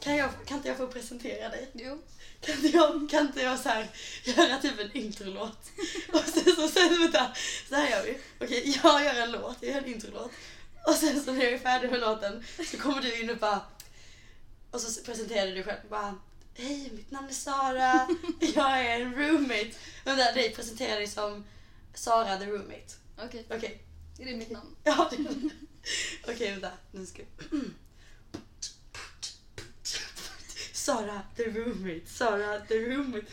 inte jag får presentera dig? Jo. Kan inte jag, kan inte jag så här göra typ en introlåt? Och sen så, sen, vänta, så här gör vi. Okej, jag gör en låt, jag gör en introlåt. Och sen så när jag är färdig med låten så kommer du in och bara... Och så presenterar du dig själv bara... Hej, mitt namn är Sara, jag är en roommate. Och där dig presenterar dig som Sara the roommate. Okej, Okej, det är mitt namn. ja. det- Okej, vänta, nu ska Sara the roommate, Sara the roommate.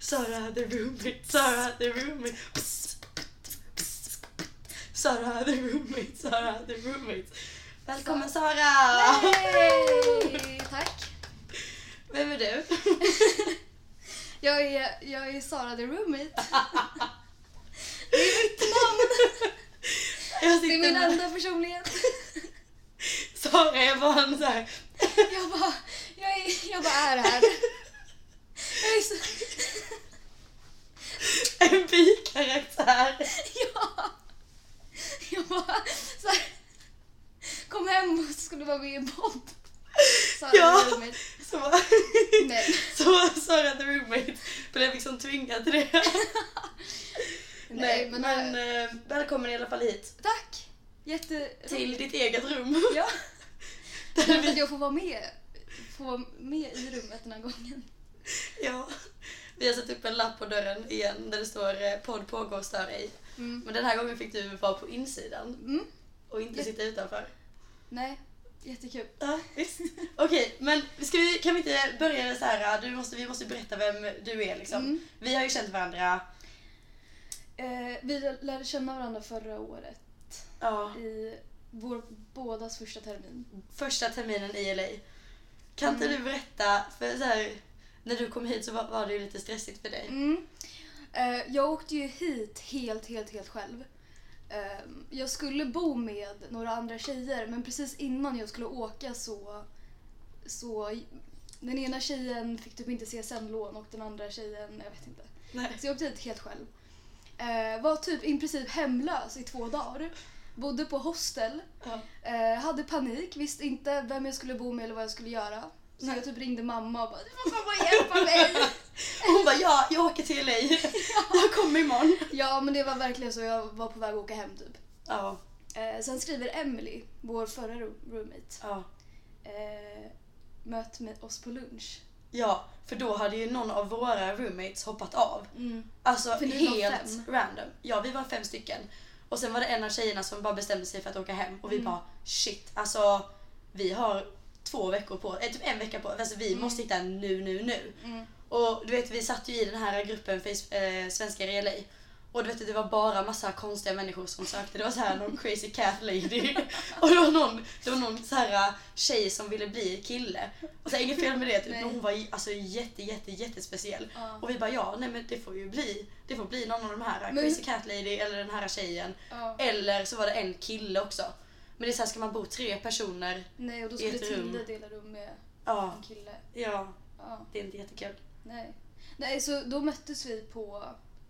Sara the roommate, Sara the roommate. Sara the roommate, Sara the roommate. Välkommen Sara! Yay! Tack. Vem är du? Jag är, jag är Sara the roommate. Det är mitt namn! Jag Det är sitter min med... enda personlighet. Sara är bara en så här... Jag bara, jag är, jag bara är här. Jag är så... En bikaraktär. Ja. Jag bara så här, kom hem och skulle vara med i en podd. Sara Ja. the roommate. Så var Nej. så Sara the roommate blev liksom tvingad till det. Nej, men, eh, välkommen i alla fall hit. tack. Jätte... Till ditt eget rum. Ja. Där Kul att vi, jag får vara med. Får vara med i rummet den här gången. ja, vi har satt upp en lapp på dörren igen där det står eh, podd pågår stör ej. Mm. Men den här gången fick du vara på insidan Mm. och inte Ja. sitta utanför. Nej, jättekul. Ja, visst. Okej, men ska vi, kan vi inte börja så här, du måste, vi måste berätta vem du är liksom. Mm. Vi har ju känt varandra, Eh, vi lärde känna varandra förra året ja, i vår bådas första termin. första terminen i LA. Kan Mm. inte du berätta, för så här, när du kom hit så var, var det ju lite stressigt för dig. Mm. Eh, jag åkte ju hit helt, helt, helt själv. Eh, jag skulle bo med några andra tjejer men precis innan jag skulle åka så... så den ena tjejen fick typ inte CSN-lån och den andra tjejen, jag vet inte. Nej. Så jag åkte hit helt själv. Eh, var typ i princip hemlös i två dagar. Bodde på hostel. Ja. Eh, hade panik, visste inte vem jag skulle bo med eller vad jag skulle göra. Så Nej. jag typ ringde mamma och bara “Du får komma och hjälpa mig!” Hon bara, ja, jag åker till LA. Jag kommer imorgon. Ja men det var verkligen så, jag var på väg att åka hem typ. Ja, Eh, sen skriver Emily, vår förra ro- roommate, ja. eh, “Möt med oss på lunch”. Ja, för då hade ju någon av våra roommates hoppat av. Alltså För ni var helt fem. random. Ja, vi var fem stycken. Och sen var det en av tjejerna som bara bestämde sig för att åka hem och vi Mm. bara shit, alltså vi har två veckor på eh, typ en vecka på Alltså vi Mm. måste hitta en nu, nu, nu. Och du vet vi satt ju i den här gruppen face, eh, svenskar i LA. Och du vet det var bara massa konstiga människor som sökte. Det var så här någon crazy cat lady. Och det var någon, det var någon så här eh, tjej som ville bli kille. Och så här, inget fel med det, typ. Nej. men hon var j- alltså jätte jätte jättespeciell. Ja. Och vi bara ja, nej men det får ju bli, det får bli någon av de här, eh, Men- crazy cat lady eller den här tjejen. Ja. Eller så var det en kille också. Men det är så här, ska man bo tre personer? Nej och då I ett skulle Tilde rum. dela rum med Ja, en kille. ja, Ja, det är inte jättekul. nej. Nej så då möttes vi på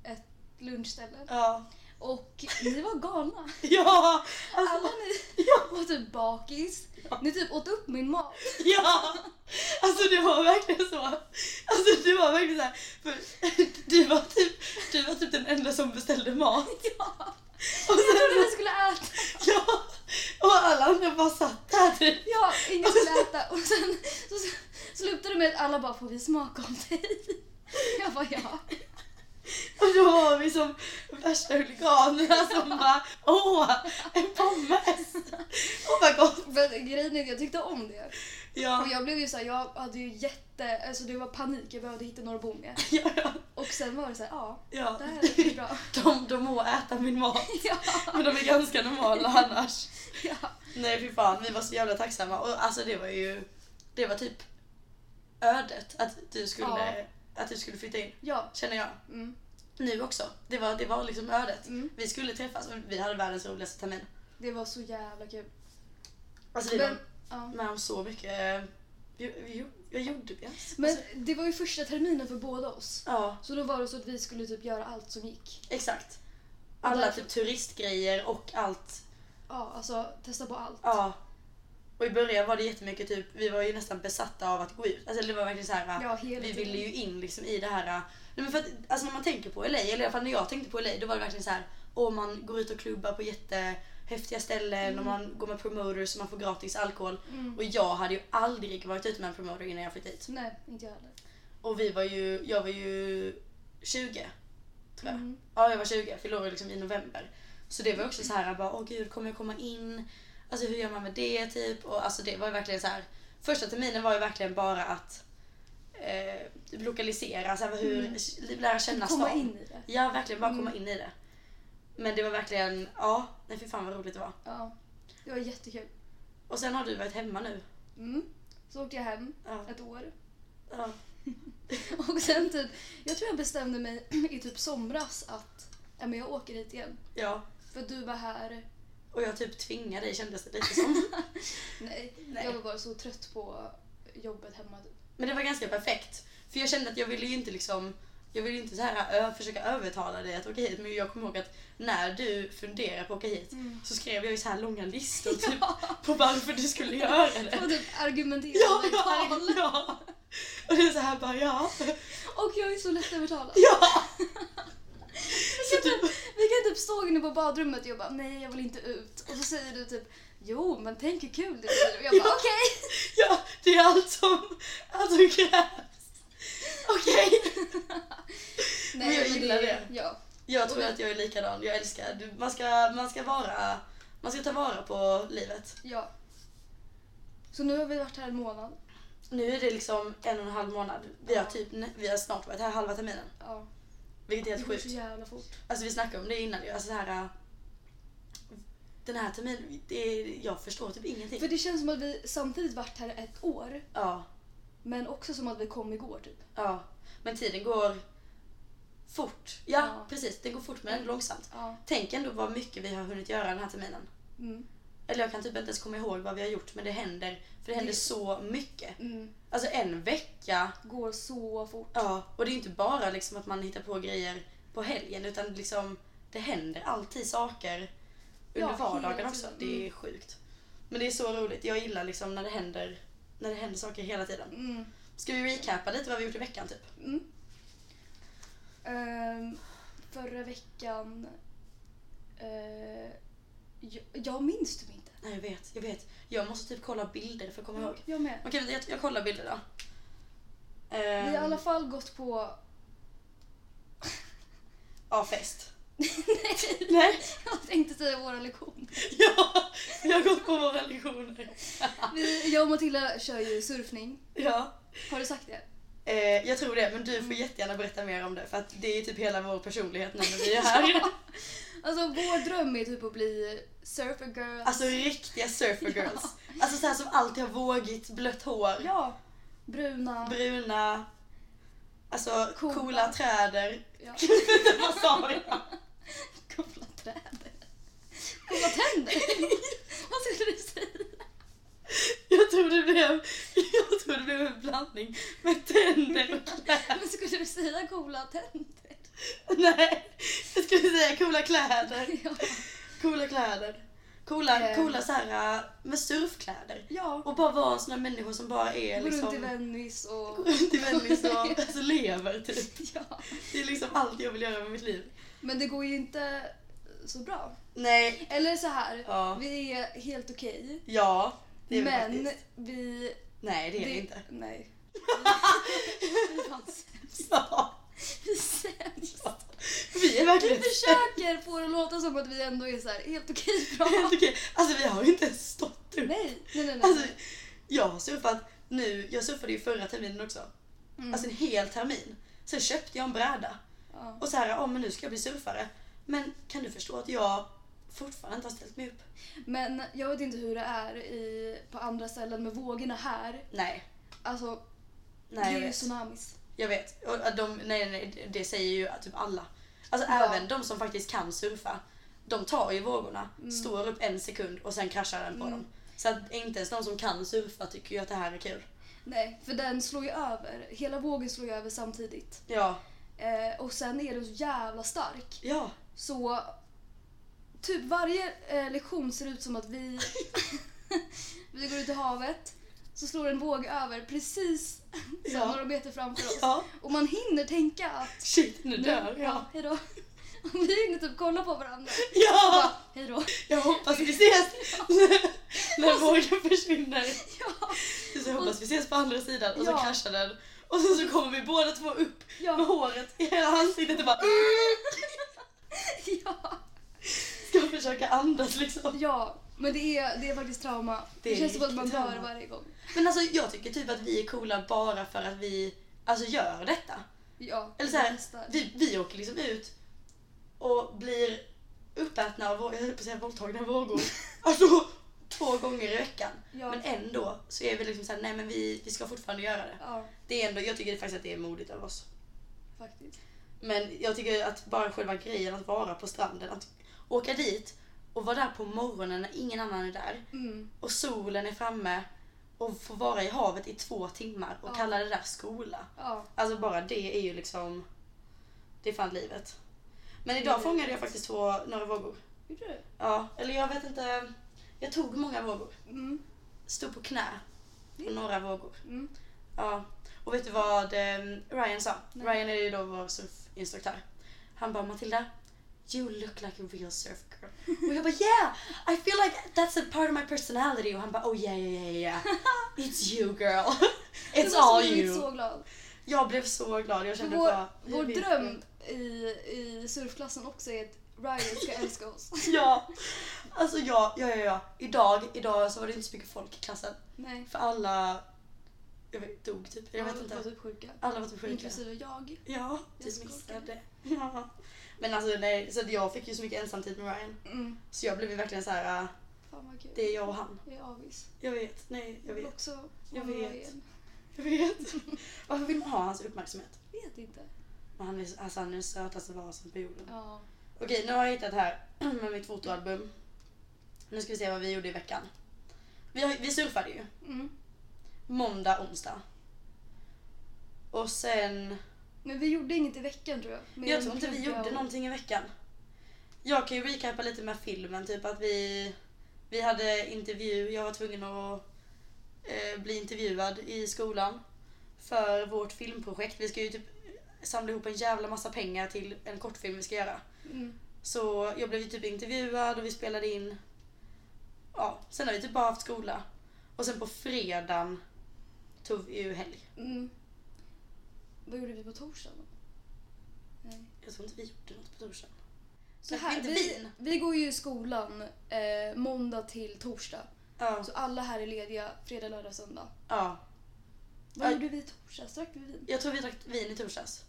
ett lunchställe Ja, och ni var galna. ja, Alla alltså, ni var typ bakis. Ni typ åt upp min mat. ja. Alltså det var verkligen så. Alltså det var verkligen så här, för du var typ, du var typ den enda som beställde mat. Ja. Och Jag sen, trodde vi skulle äta. ja, och alla andra bara satt där typ. Ja, ingen skulle äta. Och sen så slutade det med att alla bara “får vi smaka om dig?” Jag bara “ja”. Och då var vi som värsta huliganerna som bara åh, en pommes! Åh vad gott! Men grejen är att jag tyckte om det. Ja, Och jag blev ju såhär, jag hade ju jätte... Alltså det var panik, jag behövde hitta några att bo med. ja, ja. Och sen var det såhär, ja, ja. det här är bra. De, de må äta min mat, Ja, men de är ganska normala annars. ja. Nej fy fan, vi var så jävla tacksamma. Och alltså det var ju, det var typ ödet att du skulle, att du skulle flytta in. Ja. Känner jag. Mm. Nu också. Det var, det var liksom ödet. Mm. Vi skulle träffas och vi hade världens roligaste termin. Det var så jävla kul. Alltså vi Men, var ja. med om så mycket. Vi, vi, vad gjorde vi ens? Men Alltså, det var ju första terminen för båda oss. ja. Så då var det så att vi skulle typ göra allt som gick. Exakt. Och Alla därför- typ turistgrejer och allt. Ja, alltså testa på allt. Ja. Och i början var det jättemycket typ, vi var ju nästan besatta av att gå ut. Alltså det var verkligen så här, Ja, hela vi tiden. ville ju in liksom i det här. äh, Nej, men för att, alltså när man tänker på LA, eller i alla fall när jag tänkte på LA, då var det verkligen så här, åh man går ut och klubbar på jättehäftiga ställen och man går med promoters och man får gratis alkohol. Mm. Och jag hade ju aldrig varit ute med en promoter innan jag flyttade hit. Nej, inte jag heller. Och vi var ju, jag var ju 20. Tror jag. Mm. Ja, jag var 20. Fyllde år liksom i november. Så det var också så här, jag bara, åh gud, kommer jag komma in? Alltså hur gör man med det typ? Och alltså det var ju verkligen så här. Första terminen var ju verkligen bara att eh, lokalisera, så här, hur, lära känna Mm. Komma stan. in i det. Ja, verkligen bara komma Mm. in i det. Men det var verkligen, ja, nej fy fan vad roligt det var. Ja, det var jättekul. Och sen har du varit hemma nu. Mm. Så åkte jag hem Ja, ett år. ja. Och sen typ, jag tror jag bestämde mig i typ somras att ja, men jag åker hit igen. ja. För att du var här. Och jag typ tvingade dig kändes det lite som. Nej, Nej. jag var bara så trött på jobbet hemma. typ. Men det var ganska perfekt. För jag kände att jag ville ju inte liksom jag ville ju inte så här ö, försöka övertala dig att åka hit men jag kommer ihåg att när du funderade på att åka hit Mm. så skrev jag ju så här långa listor typ, Ja, på varför du skulle göra det. och typ argumenterade Ja, i ja, tal. ja. Och det är så här bara ja. Och jag är så lättövertalad. Ja. Vi Så kan typ, typ- Vi kan typ stå inne på badrummet och jag bara nej jag vill inte ut. Och så säger du typ jo men tänk hur kul det blir. Och jag bara Ja. okej. ja, det är allt som, allt som krävs. Okej. Men jag gillar det. Ja. Jag tror att jag är likadan. Jag älskar, du- man ska, man ska vara, man ska ta vara på livet. ja. Så nu har vi varit här en månad. Nu är det liksom en och en halv månad. Vi har, typ, vi har snart varit här halva terminen. Ja. Vilket är Det helt går så sjukt. jävla fort. Alltså vi snackade om det innan ju. Alltså så här, äh, den här terminen, det är, jag förstår typ ingenting. För det känns som att vi samtidigt varit här ett år Ja, men också som att vi kom igår typ. ja. Men tiden går fort. Ja, Ja. precis. Den går fort men långsamt. Ja. Tänk ändå vad mycket vi har hunnit göra den här terminen. Mm. Eller jag kan typ inte ens komma ihåg vad vi har gjort men det händer. För det händer Det- så mycket. Mm. Alltså en vecka. Går så fort. Ja, och det är inte bara liksom att man hittar på grejer på helgen utan liksom det händer alltid saker under Ja, vardagen hela också. tiden. Det är Mm. sjukt. Men det är så roligt. Jag gillar liksom när det händer, när det händer saker hela tiden. Mm. Ska vi recapa lite vad vi gjort i veckan typ? Mm. Ehm, förra veckan... eh, jag, jag minns typ inte. Nej, jag vet, jag vet. Jag måste typ kolla bilder för att komma ihåg. Jag med. Okej, vänta, jag, jag kollar bilder då. Vi har i Ehm, alla fall gått på... Ja, fest. Nej! Nej. Jag tänkte säga våra lektioner. ja, vi har gått på våra lektioner. Vi, jag och Matilda kör ju surfning. ja. Har du sagt det? Eh, jag tror det, men du Mm. får jättegärna berätta mer om det för att det är ju typ hela vår personlighet nu när vi är här. Alltså vår dröm är typ att bli surfer girl. Alltså riktiga surfer Ja. girls. Alltså så här som alltid har vågigt blött hår, ja. Bruna. bruna, alltså Coola. coola, träder. ja. Vad sa jag? Coola träder. Coola tänder. Vad skulle du säga? Jag tror det blev, jag tror det blev en blandning med tänder och kläder. Men skulle du säga coola tänder? Nej, jag skulle säga coola kläder. Ja. Coola kläder. Coola, Eh. coola så här äh, med surfkläder. ja. Och bara vara såna människor som bara är Gå liksom... runt i Venice och... Går runt i Venice och alltså, lever typ. Ja. Det är liksom allt jag vill göra med mitt liv. Men det går ju inte så bra. Nej. Eller så här. Ja. Vi är helt okej. Ja. Det är men... men faktiskt. vi... Nej det är det inte. Nej. vi fan sämst. Ja. Vi är sämst. Vi är Vi verkligen försöker få det att låta som att vi ändå är så här helt okej bra. helt okej. Alltså vi har ju inte ens stått upp. Nej, nej, nej. nej. Alltså jag har surfat nu, jag surfade ju förra terminen också. Mm. Alltså en hel termin. Sen köpte jag en bräda ja. och så här, ja men nu ska jag bli surfare. Men kan du förstå att jag fortfarande inte har ställt mig upp? Men jag vet inte hur det är i, på andra ställen med vågorna här. Nej. Alltså, Nej det jag är ju vet. tsunamis. Jag vet. Och att de, nej, nej, nej, det säger ju typ alla. Alltså Ja. även de som faktiskt kan surfa. De tar ju vågorna, står upp en sekund och sen kraschar den på Mm. dem. Så att inte ens de som kan surfa tycker ju att det här är kul. Nej, för den slår ju över. Hela vågen slår ju över samtidigt. Ja. Eh, och sen är den så jävla stark. Ja. Så typ varje eh, lektion ser ut som att vi Vi går ut i havet, så slår en våg över precis så, Ja. några meter framför oss. Ja, Och man hinner tänka att shit nu dör jag. ja, hejdå. Och vi hinner typ kolla på varandra. Och Ja, bara, hejdå. jag hoppas vi ses när vågen försvinner. Ja, Så jag hoppas vi ses på andra sidan och så Ja. kraschar den. Och sen så kommer vi båda två upp med ja, håret i hela ansiktet och bara ja. ska försöka andas liksom. Ja, men det är, det är faktiskt trauma. Det Det, är känns som att man riktigt dör trauma. varje gång. Men alltså jag tycker typ att vi är coola bara för att vi alltså gör detta. Ja, Eller så här, det bästa. Vi, vi åker liksom ut och blir uppätna av, vå- jag höll på att säga våldtagna av vågor. Alltså två gånger i veckan. Ja. Men ändå så är vi liksom såhär, nej men vi, vi ska fortfarande göra det. ja, det är ändå, jag tycker faktiskt att det är modigt av oss. faktiskt. Men jag tycker att bara själva grejen att vara på stranden, att åka dit och vara där på morgonen när ingen annan är där Mm. och solen är framme och få vara i havet i två timmar och Ja. kalla det där skola. Ja, Alltså bara det är ju liksom, det är fan livet. Men idag fångade jag faktiskt två, några vågor. gjorde du? Ja, eller jag vet inte, jag tog många vågor. Mm. Stod på knä på några vågor. Mm. Ja, och vet du vad eh, Ryan sa? Nej. Ryan är ju då vår surfinstruktör. Han bara Matilda, you look like a real surf girl. Och jag bara yeah, I feel like that's a part of my personality. Och han bara oh yeah yeah yeah yeah. It's you girl. Det It's var som all jag blev you. så glad. Jag blev så glad, jag För kände vår bara. vår jag vet dröm inte. i, i surfklassen också är att Ryan ska älska oss. Ja, alltså ja, ja, ja, ja. Idag, idag så var det inte så mycket folk i klassen. Nej. För alla, jag vet, dog typ. Jag vet Alla var inte. typ sjuka. Alla var typ sjuka. Inklusive jag. Ja, Jag typ skolkar. missade. Ja. Men alltså nej, så att jag fick ju så mycket ensamtid med Ryan. Mm. Så jag blev ju verkligen så här, ah, Fan vad kul. det är jag och han. Jag är avis. Jag vet, nej, jag vill vet, också vara Jag med vet. igen. jag vet. Varför vill man ha hans uppmärksamhet? Vet inte. Men han är, alltså, han är den sötaste varelsen på jorden. Ja. Okej, nu har jag hittat här med mitt fotoalbum. Nu ska vi se vad vi gjorde i veckan. Vi, har, vi surfade ju. Mm. Måndag, onsdag. Och sen... Men vi gjorde inget i veckan tror jag. Men Jag tror inte vi gjorde någonting i veckan. Jag kan ju recapa lite med filmen, typ att vi, vi hade intervju, jag var tvungen att eh, bli intervjuad i skolan för vårt filmprojekt. Vi ska ju typ samla ihop en jävla massa pengar till en kortfilm vi ska göra. Mm. Så jag blev ju typ intervjuad och vi spelade in. Ja, sen har vi typ bara haft skola. Och sen på fredagen tog vi ju helg. Mm. Vad gjorde vi på torsdagen? då? Nej. Jag tror inte vi gjorde något på torsdagen. Så Drack vi här, inte vi, vin? vi går ju i skolan eh, måndag till torsdag. Ja, Så alla här är lediga fredag, lördag, söndag. ja. Vad Ja. gjorde vi i torsdags? Drack vi vin? Jag tror vi drack vin i torsdags.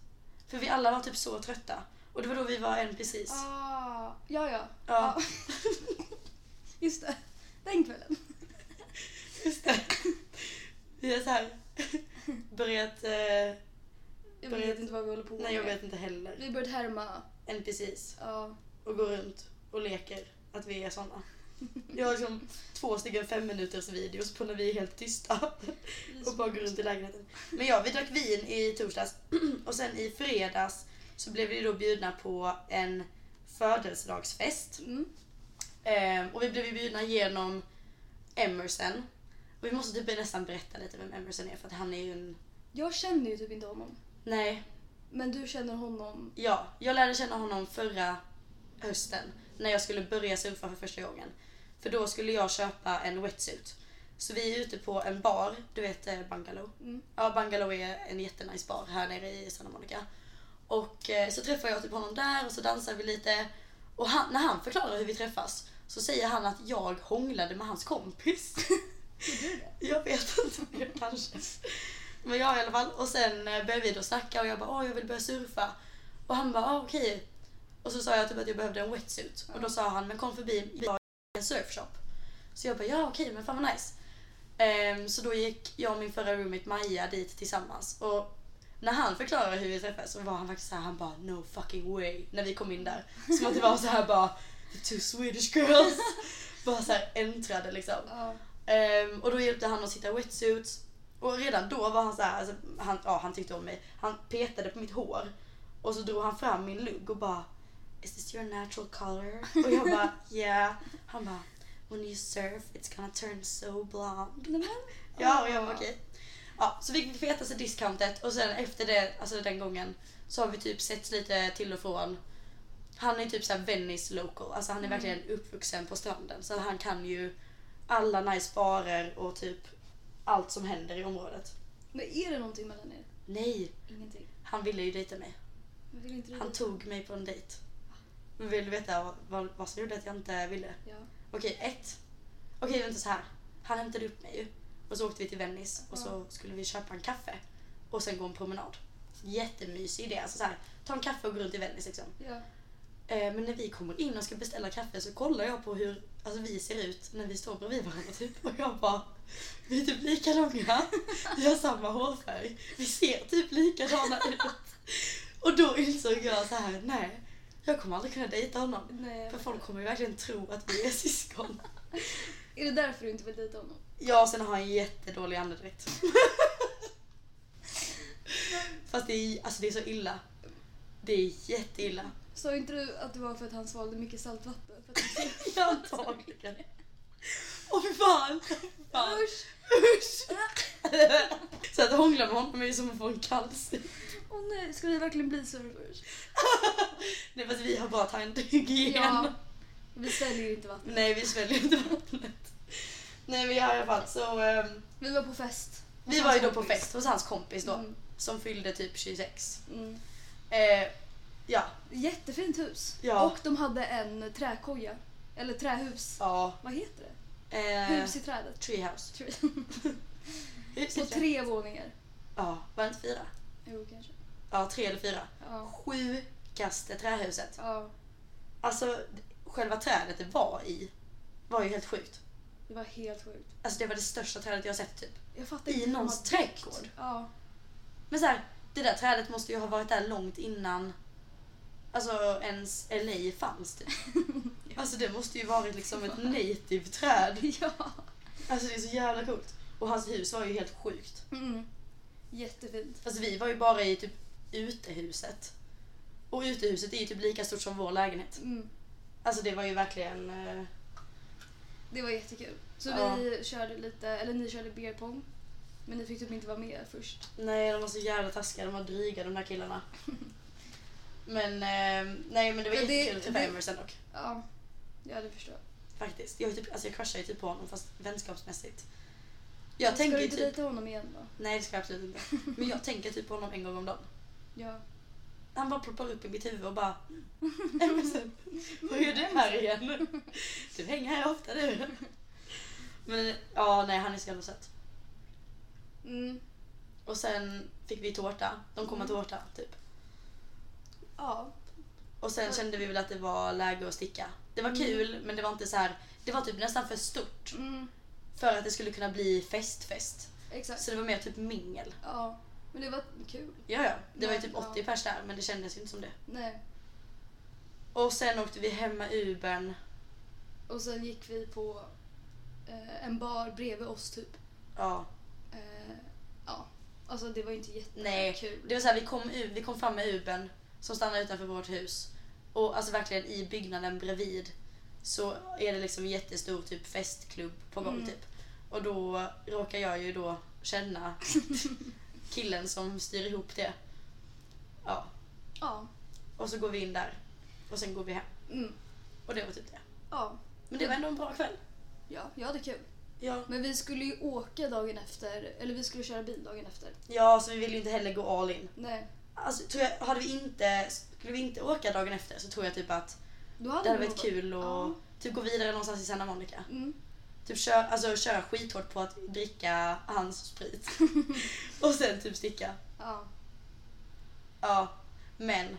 För vi alla var typ så trötta. Och det var då vi var en precis. Ah, ja, ja. Ja. Ah. Just det. Den kvällen. Just det. Vi har så här börjat... Eh, Jag Började- vet inte vad vi håller på med. nej, jag vet inte heller. Vi började härma. En precis. Ja. Och går runt och leker att vi är såna. Jag har liksom två stycken femminuters videos på när vi är helt tysta. vi Och bara går runt i lägenheten. Men ja, vi drack vin i torsdags. Och sen i fredags så blev vi då bjudna på en födelsedagsfest. Mm. Ehm, och vi blev ju bjudna genom Emerson. Och vi måste typ nästan berätta lite vem Emerson är för att han är ju en... Jag känner ju typ inte honom. Nej, Men du känner honom. ja. Jag lärde känna honom förra hösten när jag skulle börja surfa för första gången. För då skulle jag köpa en wetsuit. Så vi är ute på en bar, du vet eh, Bungalow. Mm. Ja, Bungalow är en jättenice bar här nere i Santa Monica. Och eh, så träffar jag typ honom där och så dansar vi lite. Och han, när han förklarar hur vi träffas så säger han att jag hånglade med hans kompis. jag vet inte, jag kanske. Men jag i alla fall. Och sen eh, började vi då snacka och jag bara åh jag vill börja surfa. Och han bara ah, okej. Och så sa jag typ att jag behövde en wetsuit. Och då sa han men kom förbi vi har en surfshop. Så jag bara ja okej men fan vad nice. Ehm, så då gick jag och min förra roommate Maja dit tillsammans. Och när han förklarade hur vi träffades så var han faktiskt så här, han bara no fucking way. När vi kom in där. Som att det var så här bara the two Swedish girls. bara så här äntrade liksom. Ja. Ehm, och då hjälpte han oss hitta wetsuits. Och redan då var han så här, alltså, han, ja, han tyckte om mig. Han petade på mitt hår. Och så drog han fram min lugg och bara Is this your natural color? Och jag bara yeah. Han bara When you surf it's gonna turn so blonde. Ah. Ja, och jag bara okej. Ja, så vi fick det fetaste discountet och sen efter det, alltså den gången, så har vi typ sett lite till och från. Han är typ såhär Venice local, alltså han är verkligen uppvuxen på stranden så han kan ju alla nice barer och typ allt som händer i området. Men är det någonting mellan er? Nej, Ingenting. han ville ju dejta mig. Men vill inte du Han dit? tog mig på en dejt. Men vill du veta vad- vad, vad som gjorde att jag inte ville? Ja. Okej, ett. Okej, vänta så här. Han hämtade upp mig ju. Och så åkte vi till Venice och så skulle vi köpa en kaffe. Och sen gå en promenad. Jättemysig idé. Alltså så här, ta en kaffe och gå runt i Venice liksom. ja. Eh, men när vi kommer in och ska beställa kaffe så kollar jag på hur alltså, vi ser ut när vi står bredvid varandra typ. Och jag bara, vi är typ lika långa, vi har samma hårfärg, vi ser typ likadana ut. Och då insåg jag så här, nej, jag kommer aldrig kunna dejta honom. Nej. För folk kommer ju verkligen tro att vi är syskon. Är det därför du inte vill dejta honom? Ja, sen har han jättedålig andedräkt. Fast det är, alltså, det är så illa. Det är jätteilla. Sa inte du att det var för att han svalde mycket saltvatten? För att Ja, antagligen. Åh fy fan! Fy han... fan. Usch! Usch! Så att hångla med honom är ju som att få en cancer. Åh nej, ska vi verkligen bli surfers? Nej fast vi har bara tandhygien. Ja. Vi sväljer inte vatten. Nej vi sväljer inte vattnet. Nej men i alla fall så... ehm, Vi var på fest. vi Hos var ju hans då på kompis. fest hos hans kompis då. Mm. Som fyllde typ 26. Mm. Eh, ja. Jättefint hus. Ja. Och de hade en träkoja. Eller trähus. Ja. Vad heter det? Eh, Hus i trädet. treehouse. Hus På i tre. tre våningar. Ja, var det inte fyra? Jo, kanske. Ja, tre eller fyra. Ja. Sjukaste trähuset. ja. Alltså själva trädet det var i var ju helt sjukt. Det var helt sjukt. Alltså det var det största trädet jag har sett typ. Jag fattar I inte hur de någons har- trädgård. Ja. Men så här, det där trädet måste ju ha varit där långt innan alltså ens LA fanns typ. Alltså det måste ju varit liksom ett native träd. ja. Alltså det är så jävla coolt. Och hans hus var ju helt sjukt. Mm. Jättefint. Alltså vi var ju bara i typ utehuset. Och utehuset är ju typ lika stort som vår lägenhet. Mm. Alltså det var ju verkligen... eh, Det var jättekul. Så Ja. vi körde lite, eller ni körde beer pong. Men ni fick typ inte vara med först. Nej, de var så jävla taskiga. De var dryga de där killarna. Men, eh, nej, men det var Ja, det- jättekul att träffa det- Emerson dock. Ja, ja det förstår jag. Faktiskt. Jag, är typ, alltså, jag crushar ju typ på honom fast vänskapsmässigt. Jag Men tänker Ska du ju inte typ... dejta honom igen då? Nej det ska jag absolut inte. Men jag tänker typ på honom en gång om dagen. Ja. Han bara ploppar upp i mitt huvud och bara... Emerson, vad gör du här igen? Du hänger här ofta du. Men ja, nej han är så jävla söt. Mm. Och sen fick vi tårta. De kom med Mm. tårta typ. Ja. Och sen kände vi väl att det var läge att sticka. Det var kul, men det var inte så här. Det var typ nästan för stort Mm. för att det skulle kunna bli festfest. Exakt. Så det var mer typ mingel. Ja. Men det var kul. Ja, ja. Det var ju Men, typ ja. 80 pers där, men det kändes ju inte som det. Nej. Och sen åkte vi hem med Ubern. Och sen gick vi på eh, en bar bredvid oss typ. Ja, Eh, ja. Alltså det var ju inte jättekul. nej. Det var så här, vi kom, u- vi kom fram med Ubern som stannade utanför vårt hus. Och alltså verkligen i byggnaden bredvid så är det liksom en jättestor typ festklubb på gång Mm. typ. Och då råkar jag ju då känna killen som styr ihop det. Ja, Ja. och så går vi in där. Och sen går vi hem. Mm. Och det var typ det. Ja. Men det var ändå en bra kväll. Ja, jag hade kul. Ja, Men vi skulle ju åka dagen efter, eller vi skulle köra bil dagen efter. ja så vi ville ju inte heller gå all in. Nej. Alltså, tror jag, hade vi inte, skulle vi inte åka dagen efter så tror jag typ att Då hade det hade vi varit nog- kul att Ja. typ gå vidare någonstans i Santa Monica. Mm. Typ köra alltså, kör skithårt på att dricka hans sprit. och sen typ sticka. Ja. Ja, men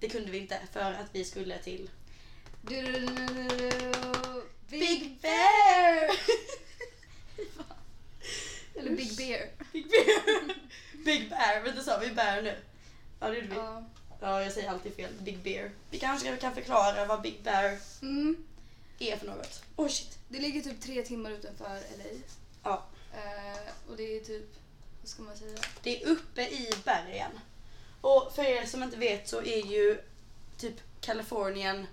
det kunde vi inte för att vi skulle till Du, du, du, du, du, du. Big Bear! Eller Big Bear. Big Bear! Big Bear, vänta sa vi Bear nu? Ja det gjorde vi. Ja. Ja jag säger alltid fel, Big Bear. Vi kanske kan förklara vad Big Bear Mm. är för något. Oj Oh, shit. Det ligger typ tre timmar utanför LA. Ja, Eh, och det är typ, vad ska man säga? Det är uppe i bergen. Och för er som inte vet så är ju typ Kalifornien,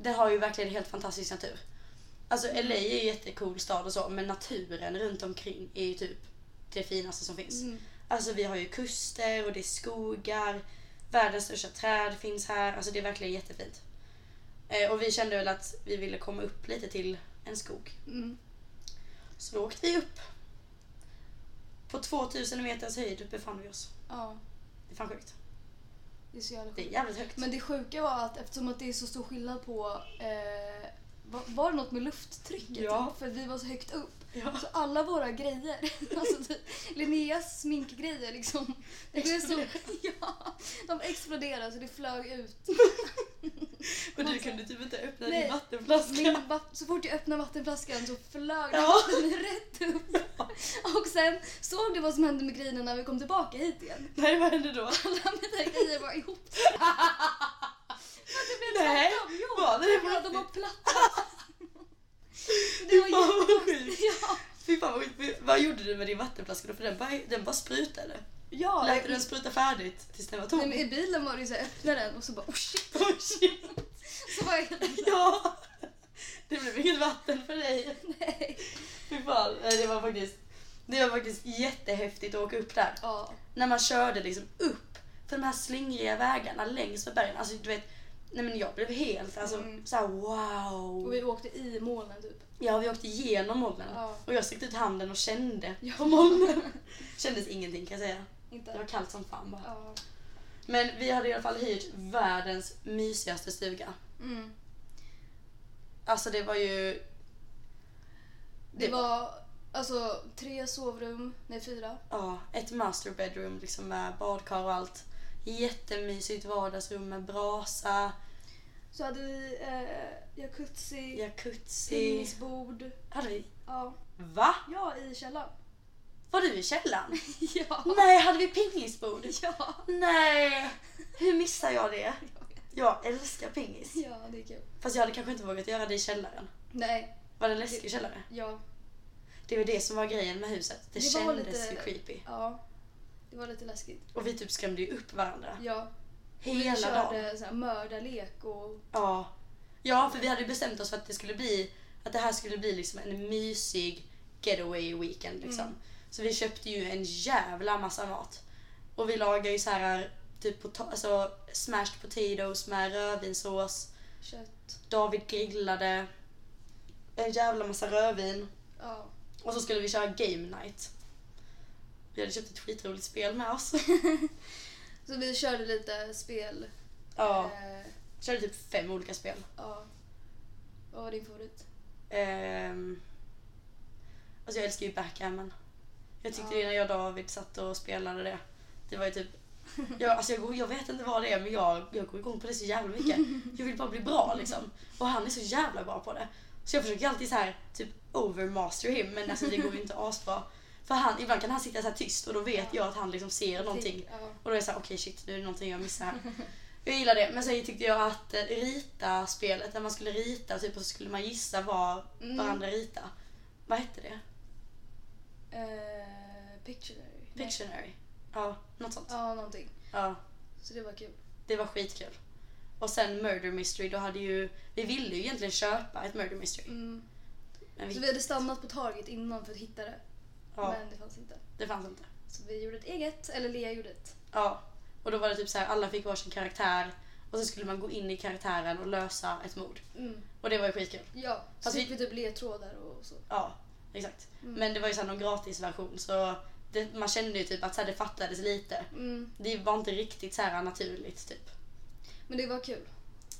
det har ju verkligen helt fantastisk natur. Alltså LA är en jättecool stad och så men naturen runt omkring är ju typ det finaste som finns. Mm. Alltså vi har ju kuster och det är skogar. Världens största träd finns här. Alltså det är verkligen jättefint. Eh, och vi kände väl att vi ville komma upp lite till en skog. Mm. Så då åkte vi upp. På 2000 meters höjd befann vi oss. Ja, Det är fan sjukt. det är så jävla Det är sjukt. jävligt högt. Men det sjuka var att eftersom att det är så stor skillnad på... Eh, var, var det något med lufttrycket? Ja. typ? För att vi var så högt upp. ja. Så alla våra grejer, alltså typ Linneas sminkgrejer liksom. Det blev så, ja, de exploderade så det flög ut. Och du man- kunde typ inte öppna Nej. din vattenflaska. Min, va- så fort jag öppnade vattenflaskan så flög den Ja. rätt upp. Och sen såg du vad som hände med grejerna när vi kom tillbaka hit igen. Nej vad hände då? Alla mina grejer var ihop. Men det blev Nej, tvärtom. Jo, var det det på ja, de var riktigt? platta. Det Fy var fan, vad jättekonstigt. Ja, Fy fan vad sjukt. Vad gjorde du med din vattenflaska då? För den bara, den bara sprutade. ja Lät du jag- den spruta färdigt tills den var tom? Nej, men I bilen var det ju så här, öppna den och så bara oh shit. Oh, shit. Så var jag helt Ja! Det blev inget vatten för dig. nej. Fy fan. Nej, Det var faktiskt, det var faktiskt jättehäftigt att åka upp där. Ja. När man körde liksom upp för de här slingriga vägarna längs med bergen. Alltså du vet, nej men jag blev helt alltså Mm. så här, wow. Och vi åkte i molnen typ. Ja, vi åkte igenom molnen. Ja. Och jag sträckte ut handen och kände Ja. på molnen. Kändes ingenting kan jag säga. Det var Inte. kallt som fan bara. Ja. Men vi hade i alla fall hyrt världens mysigaste stuga. Mm. Alltså det var ju... Det Det- var alltså tre sovrum, nej fyra. Ja, ett master bedroom liksom med badkar och allt. Jättemysigt vardagsrum med brasa, Så hade vi eh, jacuzzi, jacuzzi. Mm. pingisbord. Hade vi... Ja. Va? ja, i källaren. Var du i källaren? ja. Nej, hade vi pingisbord? Ja. Nej! Hur missar jag det? Jag älskar pingis. ja, det är kul. Fast jag hade kanske inte vågat göra det i källaren. Nej, Var det en läskig källare? ja. Det var det som var grejen med huset. Det, Det var kändes lite- ju creepy. ja. Det var lite läskigt. Och vi typ skrämde ju upp varandra. Ja. Hela vi dagen. körde så här mördarlek och... Ja. ja, för vi hade ju bestämt oss för att det skulle bli att det här skulle bli liksom en mysig getaway weekend liksom. Mm. Så vi köpte ju en jävla massa mat. Och vi lagade ju så här typ pota- alltså, smashed potatoes med rödvinssås. kött. David grillade en jävla massa rödvin. Ja. Och så skulle vi köra game night. Vi hade köpt ett skitroligt spel med oss. Så vi körde lite spel. ja, Eh, körde typ fem olika spel. ja. Vad var din favorit? Ehm, alltså jag älskar ju backgammon. Jag tyckte Ja. det när jag och David satt och spelade det. Det var ju typ... Jag, alltså jag, går, jag vet inte vad det är men jag, jag går igång på det så jävla mycket. Jag vill bara bli bra liksom. Och han är så jävla bra på det. Så jag försöker alltid så här typ overmaster him men alltså det går ju inte asbra. För han, ibland kan han sitta så här tyst och då vet jag att han liksom ser någonting. Ja. Och då är jag såhär, okej shit nu är det någonting jag missar här. Jag gillar det. Men sen tyckte jag att eh, rita-spelet, när man skulle rita typ, och så skulle man gissa vad Mm. varandra rita. Vad hette det? Eh, Pictionary. Nej. Pictionary? Ja, något sånt. Ja. Ja, någonting. Så det var kul. det var skitkul. Och sen Murder Mystery, då hade ju... Vi ville ju egentligen köpa ett Murder Mystery. Mm. Men vi, Så vi hade stannat på Target innan för att hitta det. ja, Men det fanns inte. det fanns inte. Så vi gjorde ett eget, eller Lea gjorde ett. Ja. Och då var det typ så här, alla fick varsin karaktär. Och så skulle man gå in i karaktären och lösa ett mord. Mm. Och det var ju skitkul. Ja, så Fast fick vi typ ledtrådar och så. Ja, exakt. Mm. Men det var ju såhär någon gratisversion så det, man kände ju typ att så här, det fattades lite. Mm. Det var inte riktigt så här naturligt typ. Men det var kul.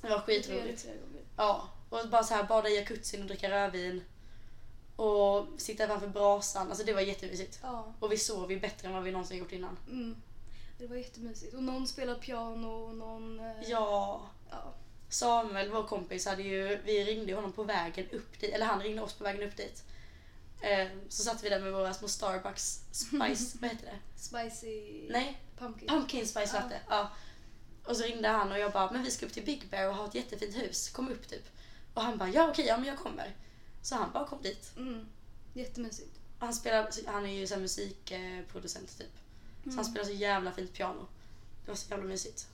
Det var Vi gjorde det skitroligt. flera gånger. Ja, och bara så här bada i jacuzzin och dricka rödvin. Och sitta framför brasan, alltså det var jättemysigt. Ja. Och vi sov ju bättre än vad vi någonsin gjort innan. Mm. Det var jättemysigt. Och någon spelade piano och någon... eh, Ja, ja. Samuel, vår kompis, hade ju, vi ringde ju honom på vägen upp dit, eller han ringde oss på vägen upp dit. Eh, så satt vi där med våra små Starbucks spice, vad heter det? Spicy Nej, pumpkin. Pumpkin spice Ja. latte. Ja. Och så ringde han och jag bara, men vi ska upp till Big Bear och ha ett jättefint hus. Kom upp typ. Och han bara, ja okej, ja men jag kommer. Så han bara kom dit. Mm. Jättemysigt. Och han, spelar, han är ju så här musikproducent typ. Så Mm. han spelar så jävla fint piano. Det var så jävla mysigt.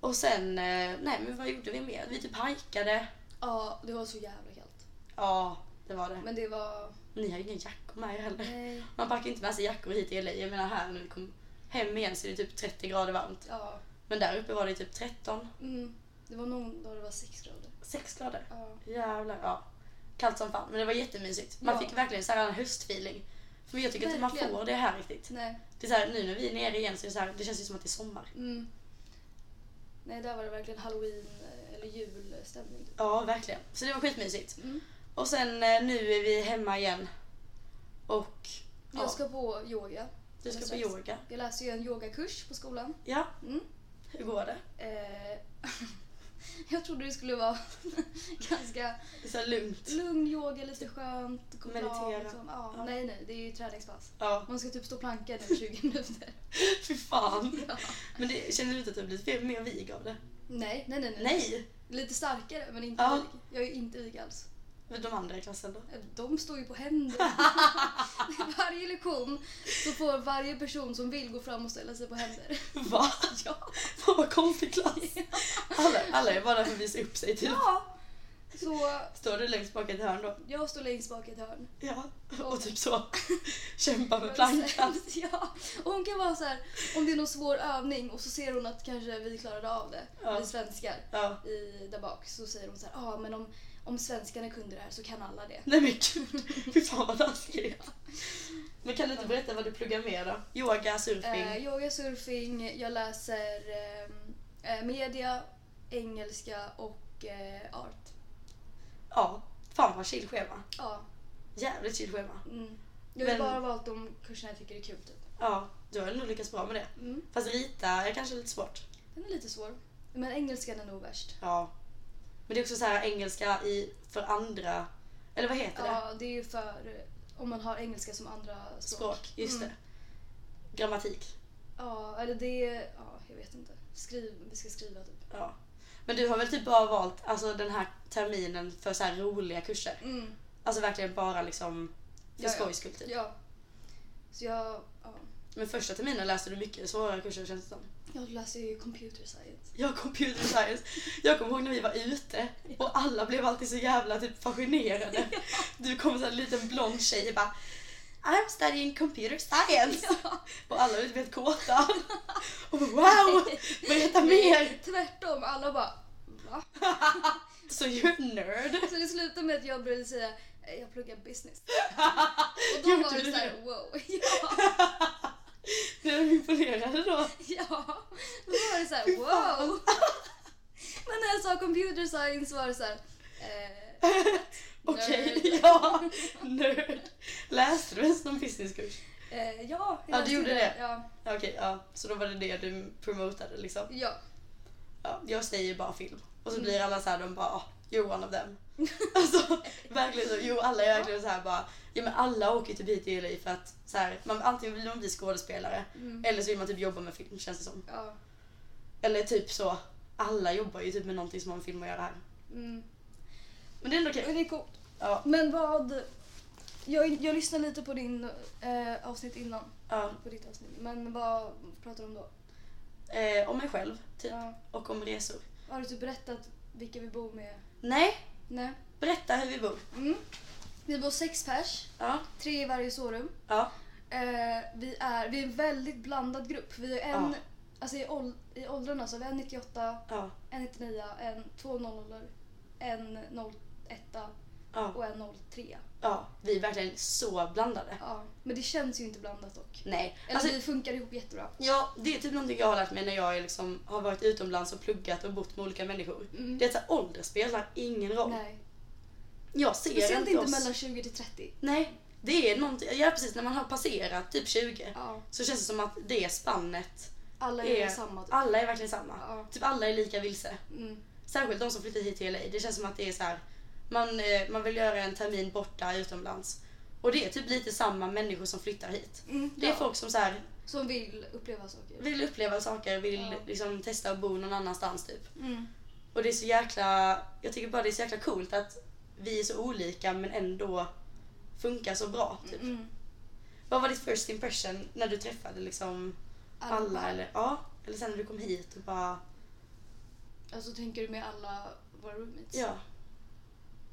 Och sen, eh, nej men vad gjorde vi mer? Vi typ hajkade. Ja, det var så jävla kallt. Ja, det var det. Men det var... Ni har ju ingen jackor med er heller. Nej. Man packar inte med sig jackor hit till LA. Jag menar här när vi kom hem igen så är det typ 30 grader varmt. Ja. Men där uppe var det typ 13. Mm. Det var någon dag det var sex grader. 6 grader. Ja. Jävlar, ja. Kallt som fan. Men det var jättemysigt. Man Ja. fick verkligen så här en höstfeeling. För jag tycker inte man Verkligen. får det här riktigt. Nej. Det är så här, nu när vi är nere igen så, är det, så här, det känns ju som att det är sommar. Mm. Nej, där var det verkligen halloween eh, eller julstämning. Ja, verkligen. Så det var skitmysigt. Mm. Och sen eh, nu är vi hemma igen. Och ja, Jag ska på yoga. du ska på strax. yoga. Jag läser ju en yogakurs på skolan. Ja, Mm. hur går det? Eh, jag trodde det skulle vara ganska Det är så här lugnt. lugn yoga, lite skönt, koppla av. Meditera. Liksom. Ja, Ja. Nej, nej, det är ju träningspass. Ja, Man ska typ stå plankad i 20 minuter. fy fan. Ja. Men det, känner du inte att du har blivit mer vig av det? Nej, nej, nej, nej. Nej! Lite starkare, men inte Ja. vig. Jag är inte vig alls. Men De andra i klassen då? De står ju på händer. varje lektion så får varje person som vill gå fram och ställa sig på händer. Va? Ja. Fan vad konstig klass. Alla, alla är bara där för att visa upp sig typ. Ja! Så Står du längst bak i ett hörn då? jag står längst bak i ett hörn. Ja. Och- Och typ så. Kämpa med plankan. Ja, och hon kan vara så här, om det är någon svår övning och så ser hon att kanske vi klarade av det, Ja. vi svenskar, Ja. i, där bak, så säger hon så här, ja ah, men om, om svenskarna kunde det här så kan alla det. Nej men gud. Fy fan vad taskigt. Men kan du inte berätta vad du pluggar mer då? Yoga, surfing? Eh, yoga, surfing, jag läser ehm, eh, media, engelska och eh, art. Ja. Fan vad chill schema. Ja, Jävligt chill schema. mm. Jag har ju Men- bara valt de kurserna jag tycker är kul typ. Ja, du har nog lyckats bra med det. Mm. Fast rita är kanske lite svårt. Den är lite svår. Men engelskan är nog värst. Ja. Men det är också så här engelska i, för andra, eller vad heter det? Ja, det är ju för eh, om man har engelska som andra språk. Språk, just Mm. det. Grammatik. Ja, eller det... Ja, jag vet inte. Skriv, vi ska skriva typ. Ja. Men du har väl typ bara valt alltså, den här terminen för så här roliga kurser? Mm. Alltså verkligen bara liksom för Ja, ja. skojs skull typ. Ja. Så jag... Ja. Men första terminen läste du mycket svårare kurser känns det som. Jag läser ju computer science. Jag computer science. Jag kommer ihåg när vi var ute och alla blev alltid så jävla typ fascinerade. Du kom så här en liten blond tjej och bara I'm studying computer science. Och alla blev helt kåta. Och bara, wow! Berätta mer! Tvärtom, alla bara... Va? Så you're a nerd. Så det slutade med att jag började säga "Eh, jag pluggar business. Och då Gjorde var du det såhär det? wow. Ja, Blev de imponerade då? ja. Då var det såhär Fy fan. wow. Men när jag sa computer science var det såhär... Eh, Okej, Nerd. ja. Nerd. Läste du ens någon businesskurs? eh, ja, Ja, du jag läste gjorde det. Ja, Ja, Okej, ja. Så då var det det du promotade liksom. ja. Ja, jag säger ju bara film. Och så Mm. blir alla så här, de bara "Ah, you're one of them. alltså verkligen så. Jo, alla är verkligen så här bara. Ja men alla åker ju typ hit till LA för att så här, man, antingen vill man bli skådespelare Mm. eller så vill man typ jobba med film känns det som. ja. Eller typ så, alla jobbar ju typ med någonting som har med film att göra här. Mm. Men det är ändå okej. Men det är coolt. Ja, Men vad... Jag, jag lyssnade lite på din eh, avsnitt innan. ja. På ditt avsnitt. Men vad pratar du om då? Eh, om mig själv typ Ja. och om resor. Har du typ berättat vilka vi bor med? Nej, Nej. berätta hur vi bor. Mm. Vi bor sex pers. Ja, Tre i varje sovrum. ja, Eh, vi, är, vi är en väldigt blandad grupp. Vi är en... Ja. Alltså i, ål, i åldrarna så har vi en 98, ja, en 99, en 2 00, en 01 ja, och en 03. ja. Vi är verkligen så blandade. Ja. Men det känns ju inte blandat dock. Nej, Eller alltså vi funkar ihop jättebra. Ja, det är typ någonting jag har lärt mig när jag är liksom, har varit utomlands och pluggat och bott med olika människor. Mm. Det är att så här, ålder spelar ingen roll. Nej. Jag ser Speciellt inte, inte oss. mellan 20 till 30. Nej, det är någonting. Ja, precis. När man har passerat typ 20 Ja. så känns det som att det spannet Alla är är... samma. Typ. Alla är verkligen samma. Ja. Typ alla är lika vilse. Mm. Särskilt de som flyttar hit till LA. Det känns som att det är så här. Man, eh, man vill göra en termin borta utomlands. Och det är typ lite samma människor som flyttar hit. Mm, Det är ja. folk som så här, Som vill uppleva saker. vill uppleva saker, vill Ja. liksom testa att bo någon annanstans typ. Mm. Och det är så jäkla, jag tycker bara det är så jäkla coolt att vi är så olika men ändå funkar så bra. Typ. Mm. Vad var ditt first impression när du träffade liksom alla, eller ja, eller sen när du kom hit och bara Alltså tänker du med alla våra roommates? ja.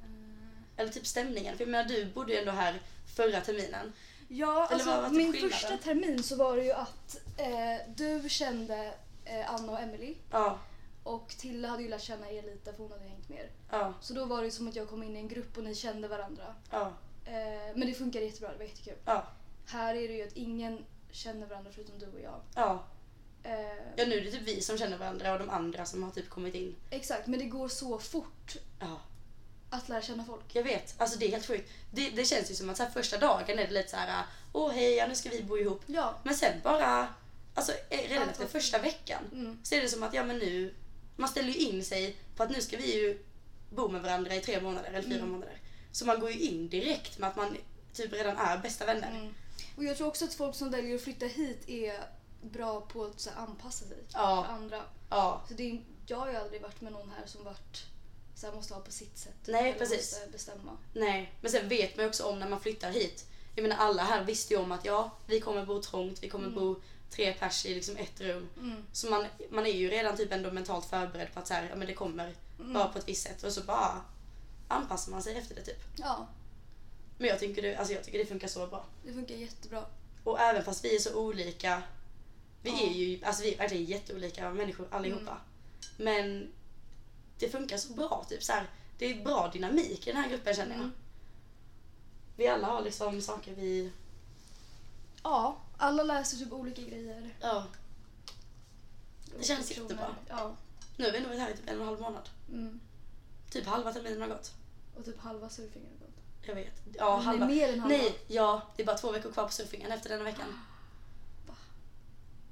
Eh, Eller typ stämningen. För jag menar, du bodde ju ändå här förra terminen. Ja, Eller vad var alltså typ min skillnaden? första termin så var det ju att eh, du kände eh, Anna och Emily Ja, och Tilla hade ju lärt känna er lite för hon hade hängt med er. ja, Så då var det ju som att jag kom in i en grupp och ni kände varandra. ja, Eh, men det funkade jättebra, det var jättekul. ja, Här är det ju att ingen känner varandra förutom du och jag. ja. Eh, Ja, nu är det typ vi som känner varandra och de andra som har typ kommit in. Exakt, men det går så fort Ja, att lära känna folk. jag vet. Alltså det är helt sjukt. Det, det känns ju som att så här, första dagen är det lite så här, åh hej, ja, nu ska vi bo ihop. Ja. Men sen bara, alltså eh, redan Allt efter var- första veckan Mm. så är det som att, ja men nu, man ställer ju in sig på att nu ska vi ju bo med varandra i tre månader eller fyra Mm. månader. Så man går ju in direkt med att man typ redan är bästa vänner. Mm. Och jag tror också att folk som väljer att flytta hit är bra på att så här, anpassa sig Ja. för andra. Ja, Så det är, jag har ju aldrig varit med någon här som varit så här, måste ha på sitt sätt. typ, Nej, eller precis. Måste bestämma. nej. Men sen vet man ju också om när man flyttar hit. Jag menar alla här visste ju om att ja, vi kommer bo trångt, vi kommer bo tre pers i liksom ett rum. Mm. Så man, man är ju redan typ ändå mentalt förberedd på att så här, ja, men det kommer Mm. bara på ett visst sätt och så bara anpassar man sig efter det typ. Ja, Men jag tycker det, alltså jag tycker det funkar så bra. det funkar jättebra. Och även fast vi är så olika, vi Ja. Mm. är ju alltså vi är verkligen jätteolika människor allihopa. Men det funkar så bra typ så här, det är bra dynamik i den här gruppen känner jag. Mm. Vi alla har liksom saker vi, Ja, alla läser typ olika grejer. ja. och känns personer. jättebra. Ja. Nu har vi ändå varit här i typ en och en halv månad. Mm. Typ halva terminen har gått. Och typ halva surfingen har gått. Jag vet. Ja, Men det är halva. mer än halva. Nej, ja, det är bara två veckor kvar på surfingen efter denna veckan.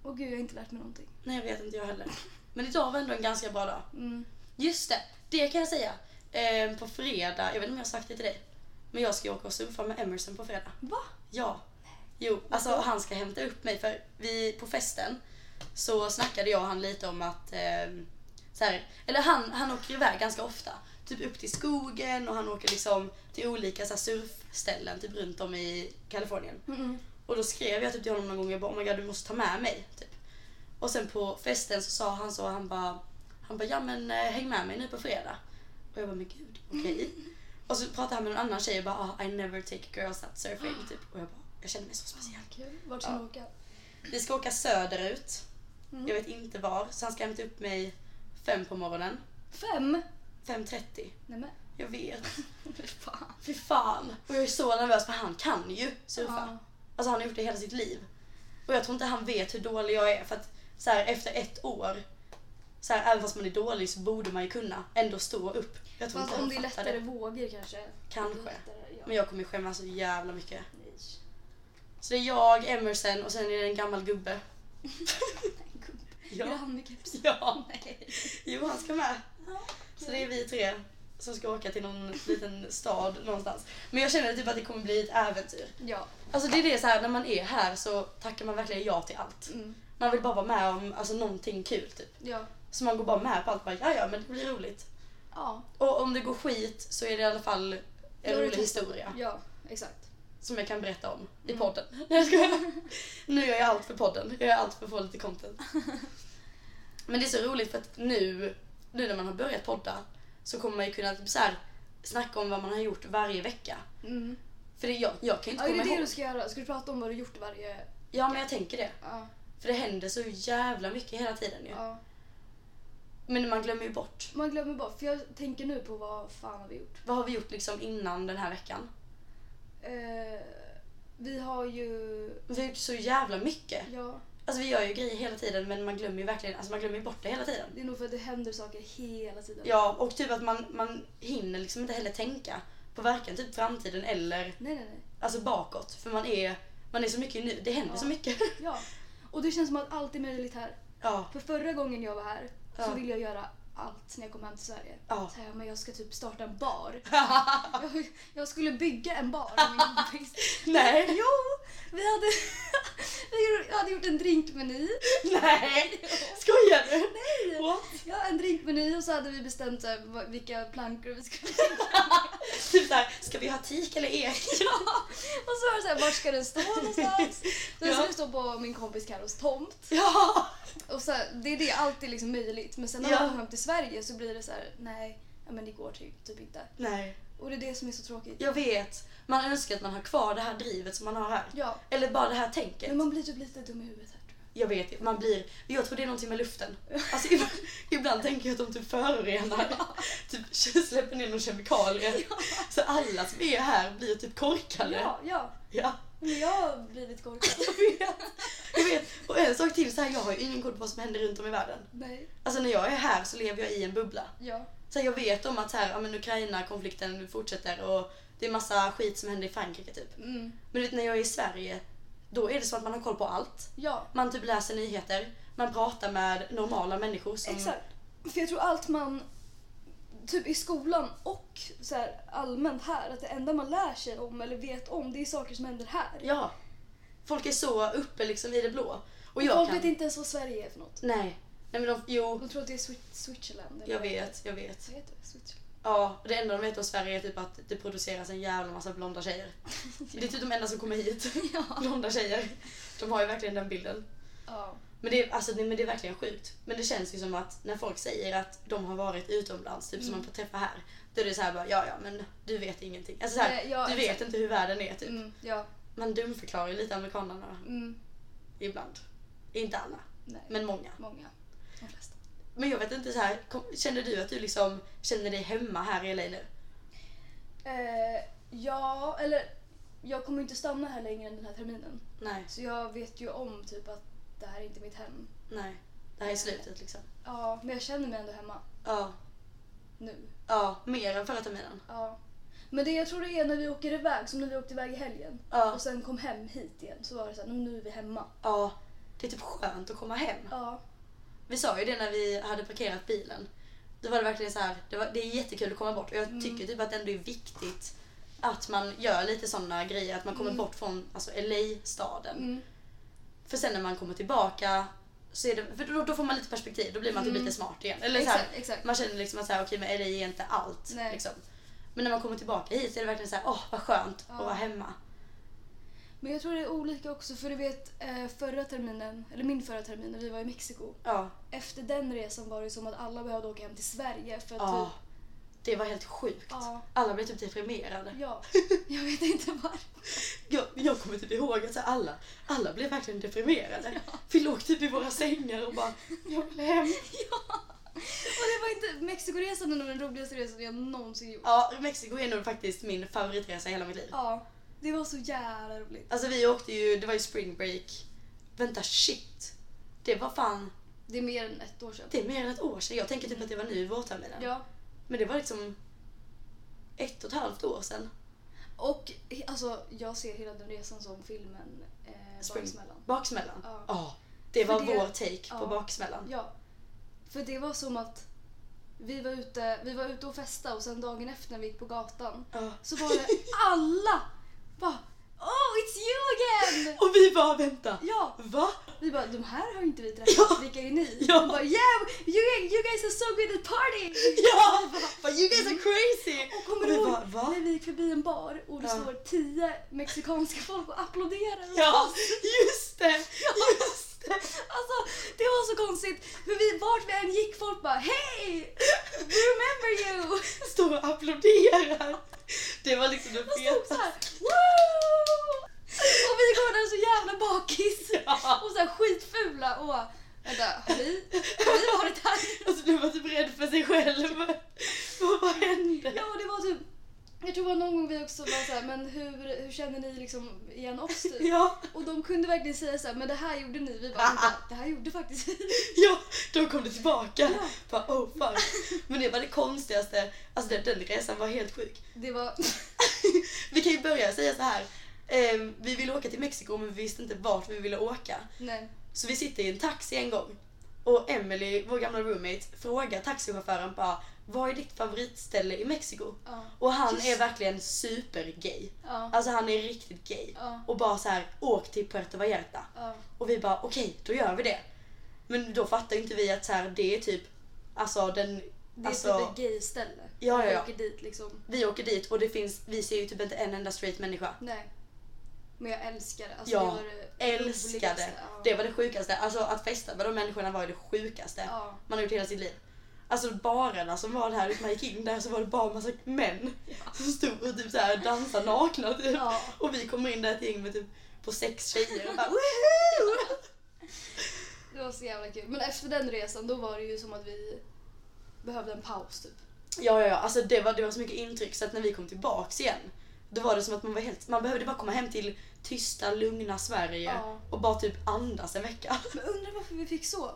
Åh gud, jag har inte lärt mig någonting. Nej, jag vet inte jag heller. Men idag var ändå en ganska bra dag. Mm. Just det, det kan jag säga. Ehm, på fredag, jag vet inte om jag har sagt det till dig. Men jag ska ju åka och surfa med Emerson på fredag. Va? Ja. Jo, alltså han ska hämta upp mig för vi på festen så snackade jag och han lite om att ehm, så här, eller han, han åker iväg ganska ofta. Typ upp till skogen och han åker liksom till olika så här, surfställen typ runt om i Kalifornien. Mm. Och då skrev jag typ till honom någon gång, jag bara oh my god du måste ta med mig. Typ. Och sen på festen så sa han så, han bara, han bara ja men eh, häng med mig nu på fredag. Och jag bara men gud, okej. Och så pratade han med någon annan tjej och bara ah, I never take girls out surfing. Ah. Typ. Och jag bara, jag känner mig så speciell. Kul. Vart ska Ja. ni åka? Vi ska åka söderut, Mm. jag vet inte var. Så han ska hämta upp mig fem på morgonen. Fem? 5.30. Nej men. Jag vet. Fy fan. Fy fan. Och jag är så nervös för han kan ju surfa. Ja. Alltså han har gjort det hela sitt liv. Och jag tror inte han vet hur dålig jag är för att så här, efter ett år, så här, även fast man är dålig så borde man ju kunna ändå stå upp. Jag tror Fast inte Alltså, om han det är fattar lättare vågor kanske. Kanske. Det är lättare, ja. Men jag kommer ju skämmas så jävla mycket. Nej. Så det är jag, Emerson och sen är det en gammal gubbe. Nej, gubbe. Ja. Är det han med kepsen? Ja. Nej. Jo, han ska med. Ja, Så det är vi tre som ska åka till någon liten stad någonstans. Men jag känner typ att det kommer bli ett äventyr. Ja. Alltså det är det så här, när man är här så tackar man verkligen ja till allt. Mm. Man vill bara vara med om alltså, någonting kul typ. Ja. Så man går bara med på allt. Bara, ja, ja, men det blir roligt. Ja. Och om det går skit så är det i alla fall är en det rolig kul. historia Ja, Mm. exakt. som jag kan berätta om i podden. Nej jag skojar. Nu gör jag allt för podden. Jag gör allt för att få lite content. Men det är så roligt för att nu, nu när man har börjat podda så kommer man ju kunna typ så här, snacka om vad man har gjort varje vecka. Mm. För det, jag, jag kan ju Ja, inte är det komma det ihåg. du ska göra? Ska du prata om vad du gjort varje... Ja men jag tänker det. Ja. För det händer så jävla mycket hela tiden ju. ja. Men man glömmer ju bort. Man glömmer bara, för jag tänker nu på vad fan har vi gjort? Vad har vi gjort liksom innan den här veckan? Eh, vi har ju... Vi har gjort så jävla mycket. Ja, Alltså vi gör ju grejer hela tiden men man glömmer ju verkligen, alltså man glömmer ju bort det hela tiden. det är nog för att det händer saker hela tiden. Ja, och typ att man, man hinner liksom inte heller tänka på varken typ framtiden eller Nej, nej, nej. alltså bakåt. För man är, man är så mycket nu, det händer Ja. så mycket. Ja. Och det känns som att allt är möjligt här. Ja, För förra gången jag var här Ja. så ville jag göra allt när jag kom hem till Sverige. Ja. Så här, men jag ska typ starta en bar. jag, jag skulle bygga en bar med min kompis. Nej. Jo! Vi hade, vi gjorde- jag hade gjort en drinkmeny. nej! Skojar du? Nej! What? Ja, en drinkmeny och så hade vi bestämt så här, vad- vilka plankor vi skulle Typ såhär, ska vi ha tik eller ek? Ja! Och så var det så här, vart ska den stå någonstans? Den Ja. skulle stå på min kompis Carros tomt. Ja! Och så här, det är det, allt är liksom möjligt. Men sen när Ja. man kommer hem till Sverige så blir det så här, nej, ja, men det går typ, typ inte. Nej. Och det är det som är så tråkigt. Jag vet. Man önskar att man har kvar det här drivet som man har här. Ja, Eller bara det här tänket. men man blir typ lite dum i huvudet här tror jag. Jag vet, man blir... Jag tror det är någonting med luften. Alltså, ibland, ibland tänker jag att de typ förorenar. Typ släpper ner några kemikalier. Så alla som är här blir typ korkade. Ja, ja. Ja, Men jag har blivit korkad. jag vet. Jag vet. Och en sak till, så här, jag har ju ingen koll på vad som händer runt om i världen. Nej. Alltså när jag är här så lever jag i en bubbla. Ja. Så här, jag vet om att så här, ja, men Ukraina-konflikten fortsätter och det är massa skit som händer i Frankrike typ. Mm. Men du vet, när jag är i Sverige, då är det så att man har koll på allt. Ja. Man typ läser nyheter, man pratar med normala människor som... Exakt. För jag tror allt man, typ i skolan och så här allmänt här, att det enda man lär sig om eller vet om det är saker som händer här. Ja. Folk är så uppe liksom i det blå. Och jag Folk kan... vet inte ens vad Sverige är för något. Nej. Nej men de... Jo. De tror att det är Swi- Switzerland. eller- Jag vet, jag vet. Vad heter det? Switzerland. Ja, det enda de vet om Sverige är typ att det produceras en jävla massa blonda tjejer. Det är typ de enda som kommer hit. Ja. Blonda tjejer. De har ju verkligen den bilden. ja. Men det, är, alltså, nej, men det är verkligen sjukt. Men det känns ju som att när folk säger att de har varit utomlands, typ Mm. som man får träffa här. Då är det så här bara, ja ja men du vet ingenting. Alltså så här, Nej, Eh, ja, du exakt. vet inte hur världen är typ. Mm, ja. Man dumförklarar ju lite amerikanerna Mm, ibland. Inte alla, nej. men många. Många. De flesta. Men jag vet inte så här, kom, känner du att du liksom känner dig hemma här i LA nu? Eh, ja, eller jag kommer inte stanna här längre än den här terminen. Nej, Så jag vet ju om typ att det här är inte mitt hem. nej. Det här är slutet liksom. Ja, men jag känner mig ändå hemma Ja, nu. ja, mer än förra terminen. Ja. Men det jag tror det är när vi åker iväg, som när vi åkte iväg i helgen Ja, Mm. och sen kom hem hit igen så var det så här, "Nu- nu är vi hemma. ja. Det är typ skönt att komma hem. Ja. Vi sa ju det när vi hade parkerat bilen. Då var det verkligen så här, det, var, det är jättekul att komma bort och jag Mm. tycker typ att det ändå är viktigt att man gör lite sådana grejer, att man kommer Mm. bort från alltså, LA-staden. Mm. För sen när man kommer tillbaka så är det, för då, då får man lite perspektiv, då blir man typ Mm. lite smart igen. Eller så här, exakt, exakt. man känner liksom att så här, okej men LA är inte allt. Nej. Liksom. Men när man kommer tillbaka hit så är det verkligen så här, åh vad skönt Ja. att vara hemma. Men jag tror det är olika också för du vet eh, förra terminen, eller min förra termin när vi var i Mexiko. Ja, Efter den resan var det som att alla behövde åka hem till Sverige för att ja. typ, Det var helt sjukt. ja, Alla blev typ deprimerade. ja, jag vet inte varför. Jag, jag kommer inte ihåg att så här alla, alla blev verkligen deprimerade. Vi låg typ i våra sängar och bara jag vill hem. Och det var inte, Mexikoresan är nog den roligaste resan jag någonsin gjort. Ja, Mexiko är nog faktiskt min favoritresa i hela mitt liv. Ja, det var så jävla roligt. Alltså vi åkte ju, det var ju spring break. Vänta shit. Det var fan, Det är mer än ett år sedan. det är mer än ett år sedan. Jag tänker typ att det var nu i vårterminen. Ja. Men det var liksom ett och ett halvt år sedan. Och he- alltså, jag ser hela den resan som filmen eh, Spring. Baksmällan. Baksmällan. Ja. det För var det- vår take på ja. baksmällan. Ja. För det var som att vi var ute, vi var ute och festade och sen dagen efter när vi gick på gatan Ja. så var det alla bara Oh, it's you again! Och vi bara vänta. Ja, Va? vi bara de här har inte vi träffat, Ja. vilka är ni? Ja. De bara yeah, you, you guys are so good at party! Ja! But you guys are crazy! Och kommer Och du vi ihåg bara, va? när vi gick förbi en bar och det Ja. står tio mexikanska folk och applåderar? Ja, just det! Just det! Alltså det var så konstigt för vi, vart vi än gick folk bara hej! We remember you! Står och applåderar. Det var liksom det Och stod fetaste. såhär wow! Och vi går där så jävla bakis Ja. och såhär skitfula och bara, vänta har vi, har vi varit här? Alltså blev man typ rädd för sig själv. Vad, vad hände? Ja och det var typ jag tror det var någon gång vi också var såhär, men hur, hur känner ni liksom igen oss typ? Ja, Och de kunde verkligen säga såhär, men det här gjorde ni. Vi bara, "Vänta, det här gjorde faktiskt vi. ja, då kom det tillbaka. Ja. Bara, oh fuck. Men det var det konstigaste. Alltså den, den resan var helt sjuk. Det var, Vi kan ju börja säga så här. Ehm, vi ville åka till Mexiko men vi visste inte vart vi ville åka. nej. Så vi sitter i en taxi en gång och Emily, vår gamla roommate, frågar taxichauffören bara vad är ditt favoritställe i Mexiko? Ja. Och han Just- är verkligen supergay. Ja. Alltså han är riktigt gay. Ja. Och bara så här, åk till Puerto Vallarta. Ja. Och vi bara okej, då gör vi det. Men då fattar ju inte vi att så här, det är typ, alltså den, Det är alltså, typ ett gay-ställe. Ja, ja, ja. Vi åker dit liksom. vi åker dit och det finns, vi ser ju typ inte en enda straight människa. Nej. Men jag älskar det. Alltså, Ja, det var det Älskade. roligaste. Ja. Det var det sjukaste. Alltså att festa med de människorna var ju det sjukaste Ja. man har gjort hela sitt liv. Alltså barerna som var där, när man gick in där så var det bara massa män som stod och typ så här dansade nakna typ. Ja. Och vi kommer in där ett gäng med typ på sex tjejer och bara woho! Det var så jävla kul. Men efter den resan då var det ju som att vi behövde en paus typ. Ja, ja, ja, alltså det var, det var så mycket intryck så att när vi kom tillbaks igen då var det som att man var helt, man behövde bara komma hem till tysta, lugna Sverige Ja. och bara typ andas en vecka. Men undrar varför vi fick så?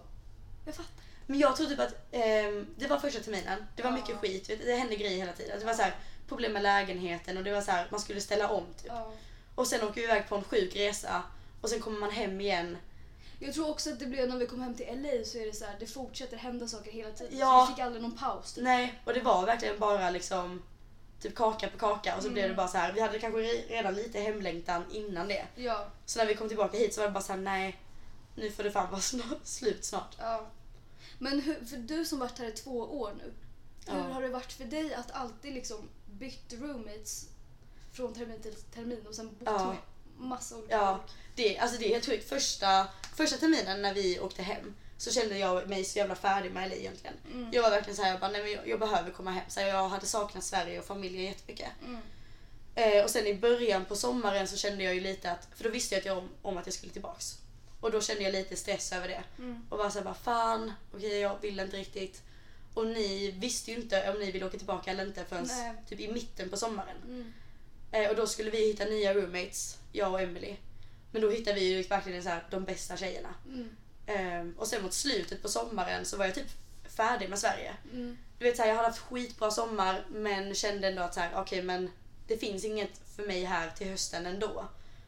Jag fattar. Men jag tror typ att ehm, det var första terminen, det var Ja. mycket skit, vet, du, det hände grejer hela tiden. Det var så här, problem med lägenheten och det var så här, man skulle ställa om typ. Ja. Och sen åker vi iväg på en sjuk resa och sen kommer man hem igen. Jag tror också att det blev när vi kom hem till LA så är det så här, det fortsätter hända saker hela tiden. Ja. Så vi fick aldrig någon paus. Typ. Nej, och det var verkligen bara liksom typ kaka på kaka och så Mm. blev det bara så här. vi hade kanske re- redan lite hemlängtan innan det. Ja, Så när vi kom tillbaka hit så var det bara så här: nej, nu får det fan vara snart, slut snart. ja. Men hur, för du som varit här i två år nu, Ja. hur har det varit för dig att alltid liksom bytt roommates från termin till termin och sen bott Ja. med massa olika Ja, folk? det, alltså det är helt sjukt. Första, första terminen när vi åkte hem så kände jag mig så jävla färdig med LA egentligen. Mm. Jag var verkligen såhär, jag, bara, nej, men jag, jag behöver komma hem. Så här, jag hade saknat Sverige och familjen jättemycket. Mm. Eh, och sen i början på sommaren så kände jag ju lite att, för då visste jag att jag om, om att jag skulle tillbaks. Och då kände jag lite stress över det. Mm. Och bara såhär, bara, fan, okej jag vill inte riktigt. Och ni visste ju inte om ni ville åka tillbaka eller inte förrän Nej. typ i mitten på sommaren. Mm. Eh, och då skulle vi hitta nya roommates, jag och Emily. Men då hittade vi ju verkligen så här, de bästa tjejerna. Mm. Eh, och sen mot slutet på sommaren så var jag typ färdig med Sverige. Mm. Du vet så här, jag hade haft skitbra sommar men kände ändå att så här, okej men det finns inget för mig här till hösten ändå.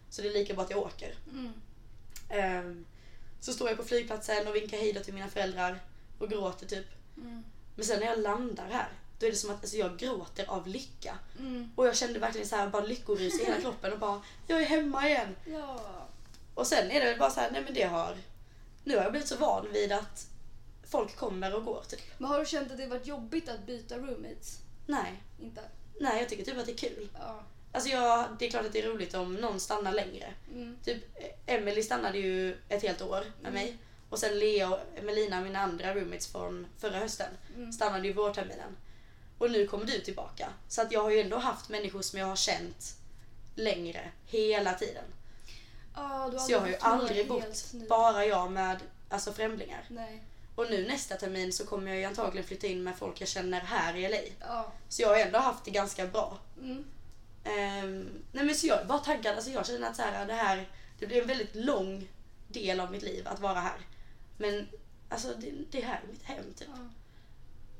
Så det är lika bra att jag åker. Mm. Eh, så står jag på flygplatsen och vinkar hejdå till mina föräldrar och gråter typ. Mm. Men sen när jag landar här, då är det som att alltså, jag gråter av lycka. Mm. Och jag kände verkligen så här, bara lyckorus i hela kroppen och bara jag är hemma igen. Ja. Och sen är det väl bara så här, nej men det har... Nu har jag blivit så van vid att folk kommer och går typ. Men har du känt att det varit jobbigt att byta roommates? Nej. Inte? Nej, jag tycker typ att det är kul. Ja. Alltså jag, det är klart att det är roligt om någon stannar längre. Mm. Typ eh, Emily stannade ju ett helt år med Mm. mig. Och sen Lea och Melina, mina andra roommates från förra hösten, Mm. stannade ju vårterminen. Och nu kommer du tillbaka. Så att jag har ju ändå haft människor som jag har känt längre, hela tiden. Ja, du Så jag har ju haft några aldrig helt bott nya. bara jag med alltså främlingar. Nej. Och nu nästa termin så kommer jag ju antagligen flytta in med folk jag känner här i LA. Ja. Så jag har ändå haft det ganska bra. Mm. Ehm, nej men så jag var taggad. Alltså jag känner att så här, det här det blir en väldigt lång del av mitt liv att vara här. Men alltså det, det här är mitt hem typ. Ja.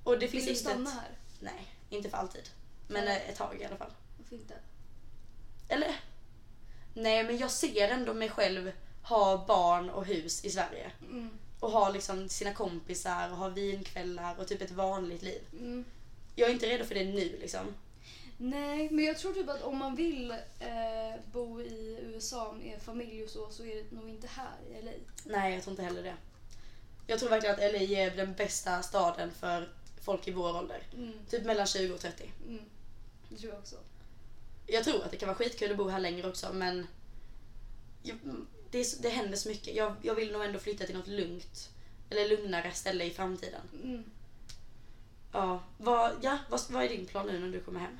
Och det Vill finns du inte... stanna Ett, här? nej, inte för alltid. Men Nej. eh, ett tag i alla fall. Varför inte? Eller? Nej men jag ser ändå mig själv ha barn och hus i Sverige. Mm. Och ha liksom sina kompisar och ha vinkvällar och typ ett vanligt liv. Mm. Jag är inte redo för det nu liksom. Nej, men jag tror typ att om man vill eh, bo i USA med familj och så, så är det nog inte här i LA. Nej, jag tror inte heller det. Jag tror verkligen att LA är den bästa staden för folk i vår ålder. Mm. Typ mellan 20 och 30. Mm. Det tror jag också. Jag tror att det kan vara skitkul att bo här längre också men jag, mm, det, är, så- det händer så mycket. Jag, jag vill nog ändå flytta till något lugnt. Eller lugnare ställe i framtiden. Mm. Ja, vad, ja, vad, vad är din plan nu när du kommer hem?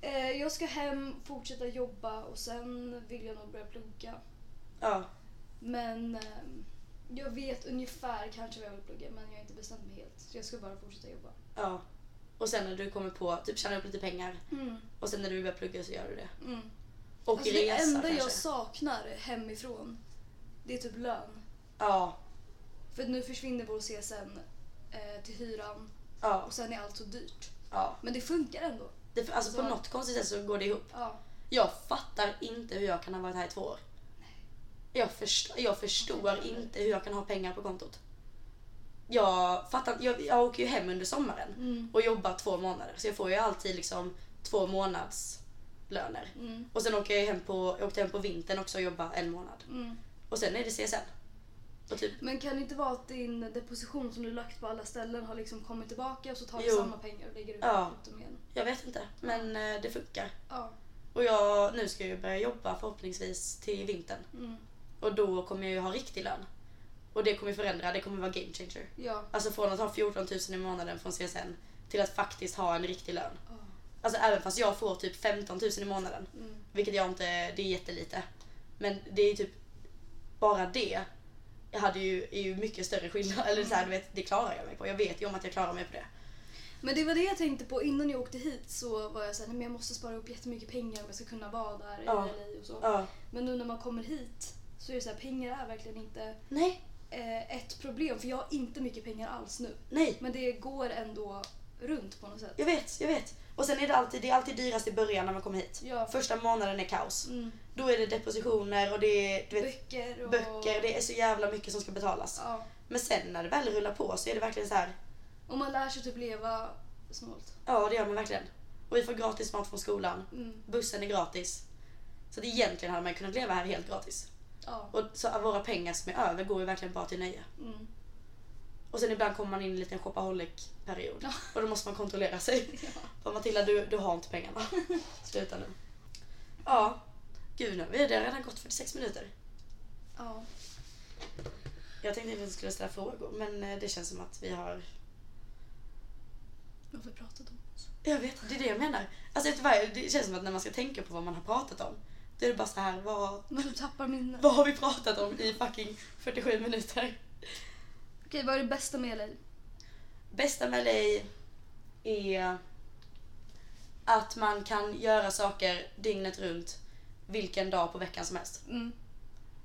Eh, jag ska hem, fortsätta jobba och sen vill jag nog börja plugga. Ja, Men ehm, jag vet ungefär kanske vad jag vill plugga, men jag har inte bestämt mig helt. Så jag ska bara fortsätta jobba. ja. Och sen när du kommer på, typ tjäna upp lite pengar Mm. och sen när du börjar plugga så gör du det. Mm. Och Alltså, det resa enda kanske. jag saknar hemifrån, det är typ lön. Ja, För att nu försvinner vår CSN eh, till hyran ja, och sen är allt så dyrt. ja. Men det funkar ändå. Det, alltså, alltså Alltså- på något konstigt sätt så går det ihop. Ja. Jag fattar inte hur jag kan ha varit här i två år. Jag, först, jag förstår heller. inte hur jag kan ha pengar på kontot. Jag fattar jag, jag åker ju hem under sommaren Mm. och jobbar två månader. Så jag får ju alltid liksom två månads löner. Mm. Och sen åker jag hem på, jag åkte hem på vintern också och jobbar en månad. Mm. Och sen är det CSN. Och typ, Men kan det inte vara att din deposition som du lagt på alla ställen har liksom kommit tillbaka och så tar du Jo. samma pengar och lägger ut Ja. dem igen? jag vet inte. Men eh, det funkar. Ja. Och jag, nu ska jag ju börja jobba förhoppningsvis till vintern. Mm. Och då kommer jag ju ha riktig lön. Och det kommer förändra, det kommer vara game changer. Ja. Alltså från att ha 14 000 i månaden från CSN till att faktiskt ha en riktig lön. Ja. Alltså även fast jag får typ 15 000 i månaden, Mm. vilket jag inte, det är jättelite. Men det är ju typ bara det jag hade ju, är ju mycket större skillnad. Eller så här, du vet, det klarar jag mig på. Jag vet ju om att jag klarar mig på det. Men det var det jag tänkte på innan jag åkte hit så var jag såhär, nej men jag måste spara upp jättemycket pengar om jag ska kunna vara där i Ja. LA och så. Ja. Men nu när man kommer hit så är det såhär, pengar är verkligen inte Nej, eh, ett problem för jag har inte mycket pengar alls nu. nej. Men det går ändå runt på något sätt. Jag vet, jag vet. Och sen är det alltid, det är alltid dyrast i början när man kommer hit. Ja. Första månaden är kaos. Mm. Då är det depositioner och det är du vet, Böcker och... böcker. Det är så jävla mycket som ska betalas. Ja. Men sen när det väl rullar på så är det verkligen så här. Och man lär sig typ leva snålt. Ja, det gör man verkligen. Och vi får gratis mat från skolan. Mm. Bussen är gratis. Så det egentligen hade man kunnat leva här helt gratis. Ja. Och så av våra pengar som är över går ju verkligen bara till nöje. Mm. Och sen ibland kommer man in i en liten shopaholic-period. Ja. Och då måste man kontrollera sig. Ja. För Matilda, du, du har inte pengarna. Sluta nu. Ja. Gud, nu har det redan gått 46 minuter. ja. Jag tänkte inte att vi skulle ställa frågor, men eh, det känns som att vi har... Vad har vi pratat om? Jag vet, det är det jag menar. Alltså efter varje, det känns som att när man ska tänka på vad man har pratat om, då är det bara så här, vad, Men du tappar minnet. vad har vi pratat om i fucking 47 minuter? Okej, vad är det bästa med LA? Bästa med LA är att man kan göra saker dygnet runt, vilken dag på veckan som helst. Mm.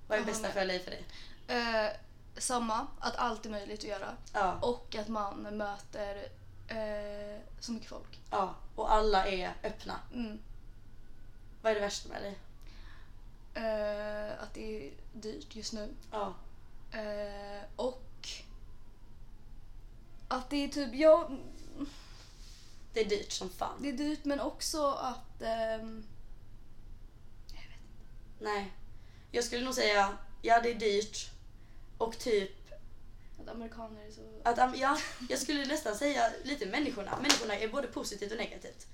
Vad är Jag bästa håller för LA för dig? Eh, samma, att allt är möjligt att göra. Ja, Och att man möter eh, så mycket folk. ja, och alla är öppna. Mm. Vad är det värsta med LA? Eh, att det är dyrt just nu. Ja, Eh, och att det är typ, ja, det är dyrt som fan. det är dyrt men också att... ehm, jag vet inte. Nej. Jag skulle nog säga, ja det är dyrt och typ Att amerikaner är så... Att, am- ja, jag skulle nästan säga lite människorna. Människorna är både positivt och negativt.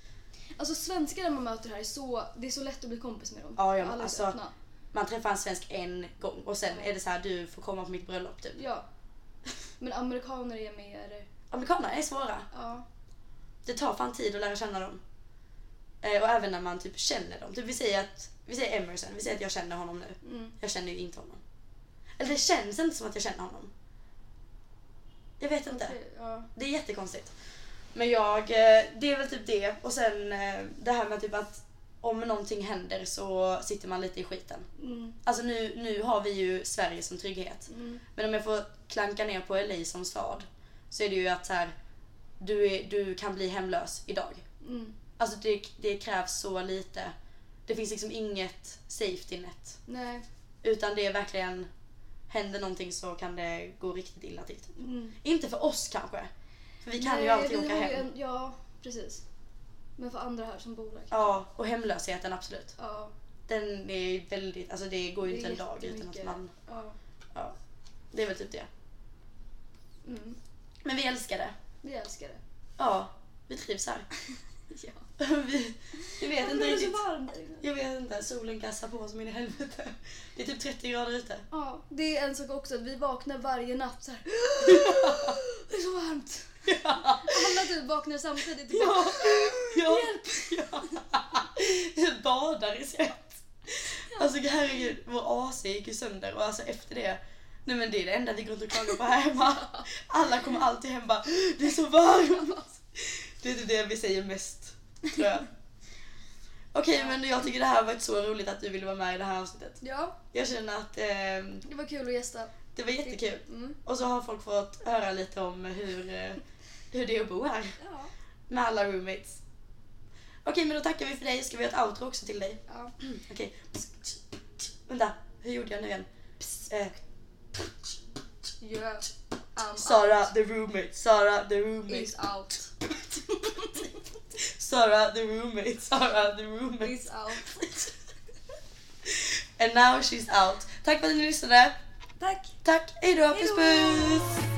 Alltså svenskar man möter här är så... Det är så lätt att bli kompis med dem. Ja, ja, Alla är alltså- så öppna. Man träffar en svensk en gång och sen är det så här du får komma på mitt bröllop typ. Ja. Men amerikaner är mer... Amerikaner är svåra. Ja. Det tar fan tid att lära känna dem. Eh, och även när man typ känner dem. Typ vi säger att, vi säger Emerson, vi säger att jag känner honom nu. Mm. Jag känner ju inte honom. Eller det känns inte som att jag känner honom. Jag vet inte. Okej, Ja. Det är jättekonstigt. Men jag, eh, det är väl typ det. Och sen eh, det här med typ att om någonting händer så sitter man lite i skiten. Mm. Alltså nu, nu har vi ju Sverige som trygghet. Mm. Men om jag får klanka ner på LA som stad så är det ju att så här, du, är, du kan bli hemlös idag. Mm. Alltså det, det krävs så lite. Det finns liksom inget safety net. Nej. Utan det är verkligen, händer någonting så kan det gå riktigt illa till. Mm. Inte för oss kanske. För vi kan ju Nej, alltid vi åka har ju hem. en- ja, precis. Men för andra här som bor här. Ja, och hemlösheten absolut. Ja. Den är ju väldigt, alltså det går ju Det inte är en dag utan att jättemycket. man, ja. ja. Det är väl typ det. Mm. Men vi älskar det. Vi älskar det. Ja, vi trivs här. Ja. vi, vi vet Men inte det är riktigt. så varmt där inne. Jag vet inte, solen gassar på som in i helvete. Det är typ 30 grader ute. Ja, det är en sak också att vi vaknar varje natt så här. Det är så varmt. ja, Alla typ vaknar samtidigt. Typ ja, ja, Hjälp! ja. Jag badar i svett. Alltså herregud, vår AC gick ju sönder och alltså efter det, nej men det är det enda vi går runt och klagar på här hemma. Alla kommer alltid hem bara, det är så varmt. Det är typ det vi säger mest, tror jag. Okej, men jag tycker det här har varit så roligt att du ville vara med i det här avsnittet. Ja, Jag känner att ehm, det var kul att gästa. det var jättekul. Mm. Och så har folk fått höra lite om hur, eh, hur det är att bo här Ja. med alla roommates. Okej, men då tackar vi för dig. Ska vi göra ett outro också till dig? ja. Okej. Vänta, hur gjorde jag nu igen? Eh, Yeah. Um, Sara the roommate, Sara the roommate. Is out. Sara the roommate, Sara the roommate. Is out. And now she's out. Tack för att ni lyssnade. Tack. Tack, hejdå, puss Hejdå. puss!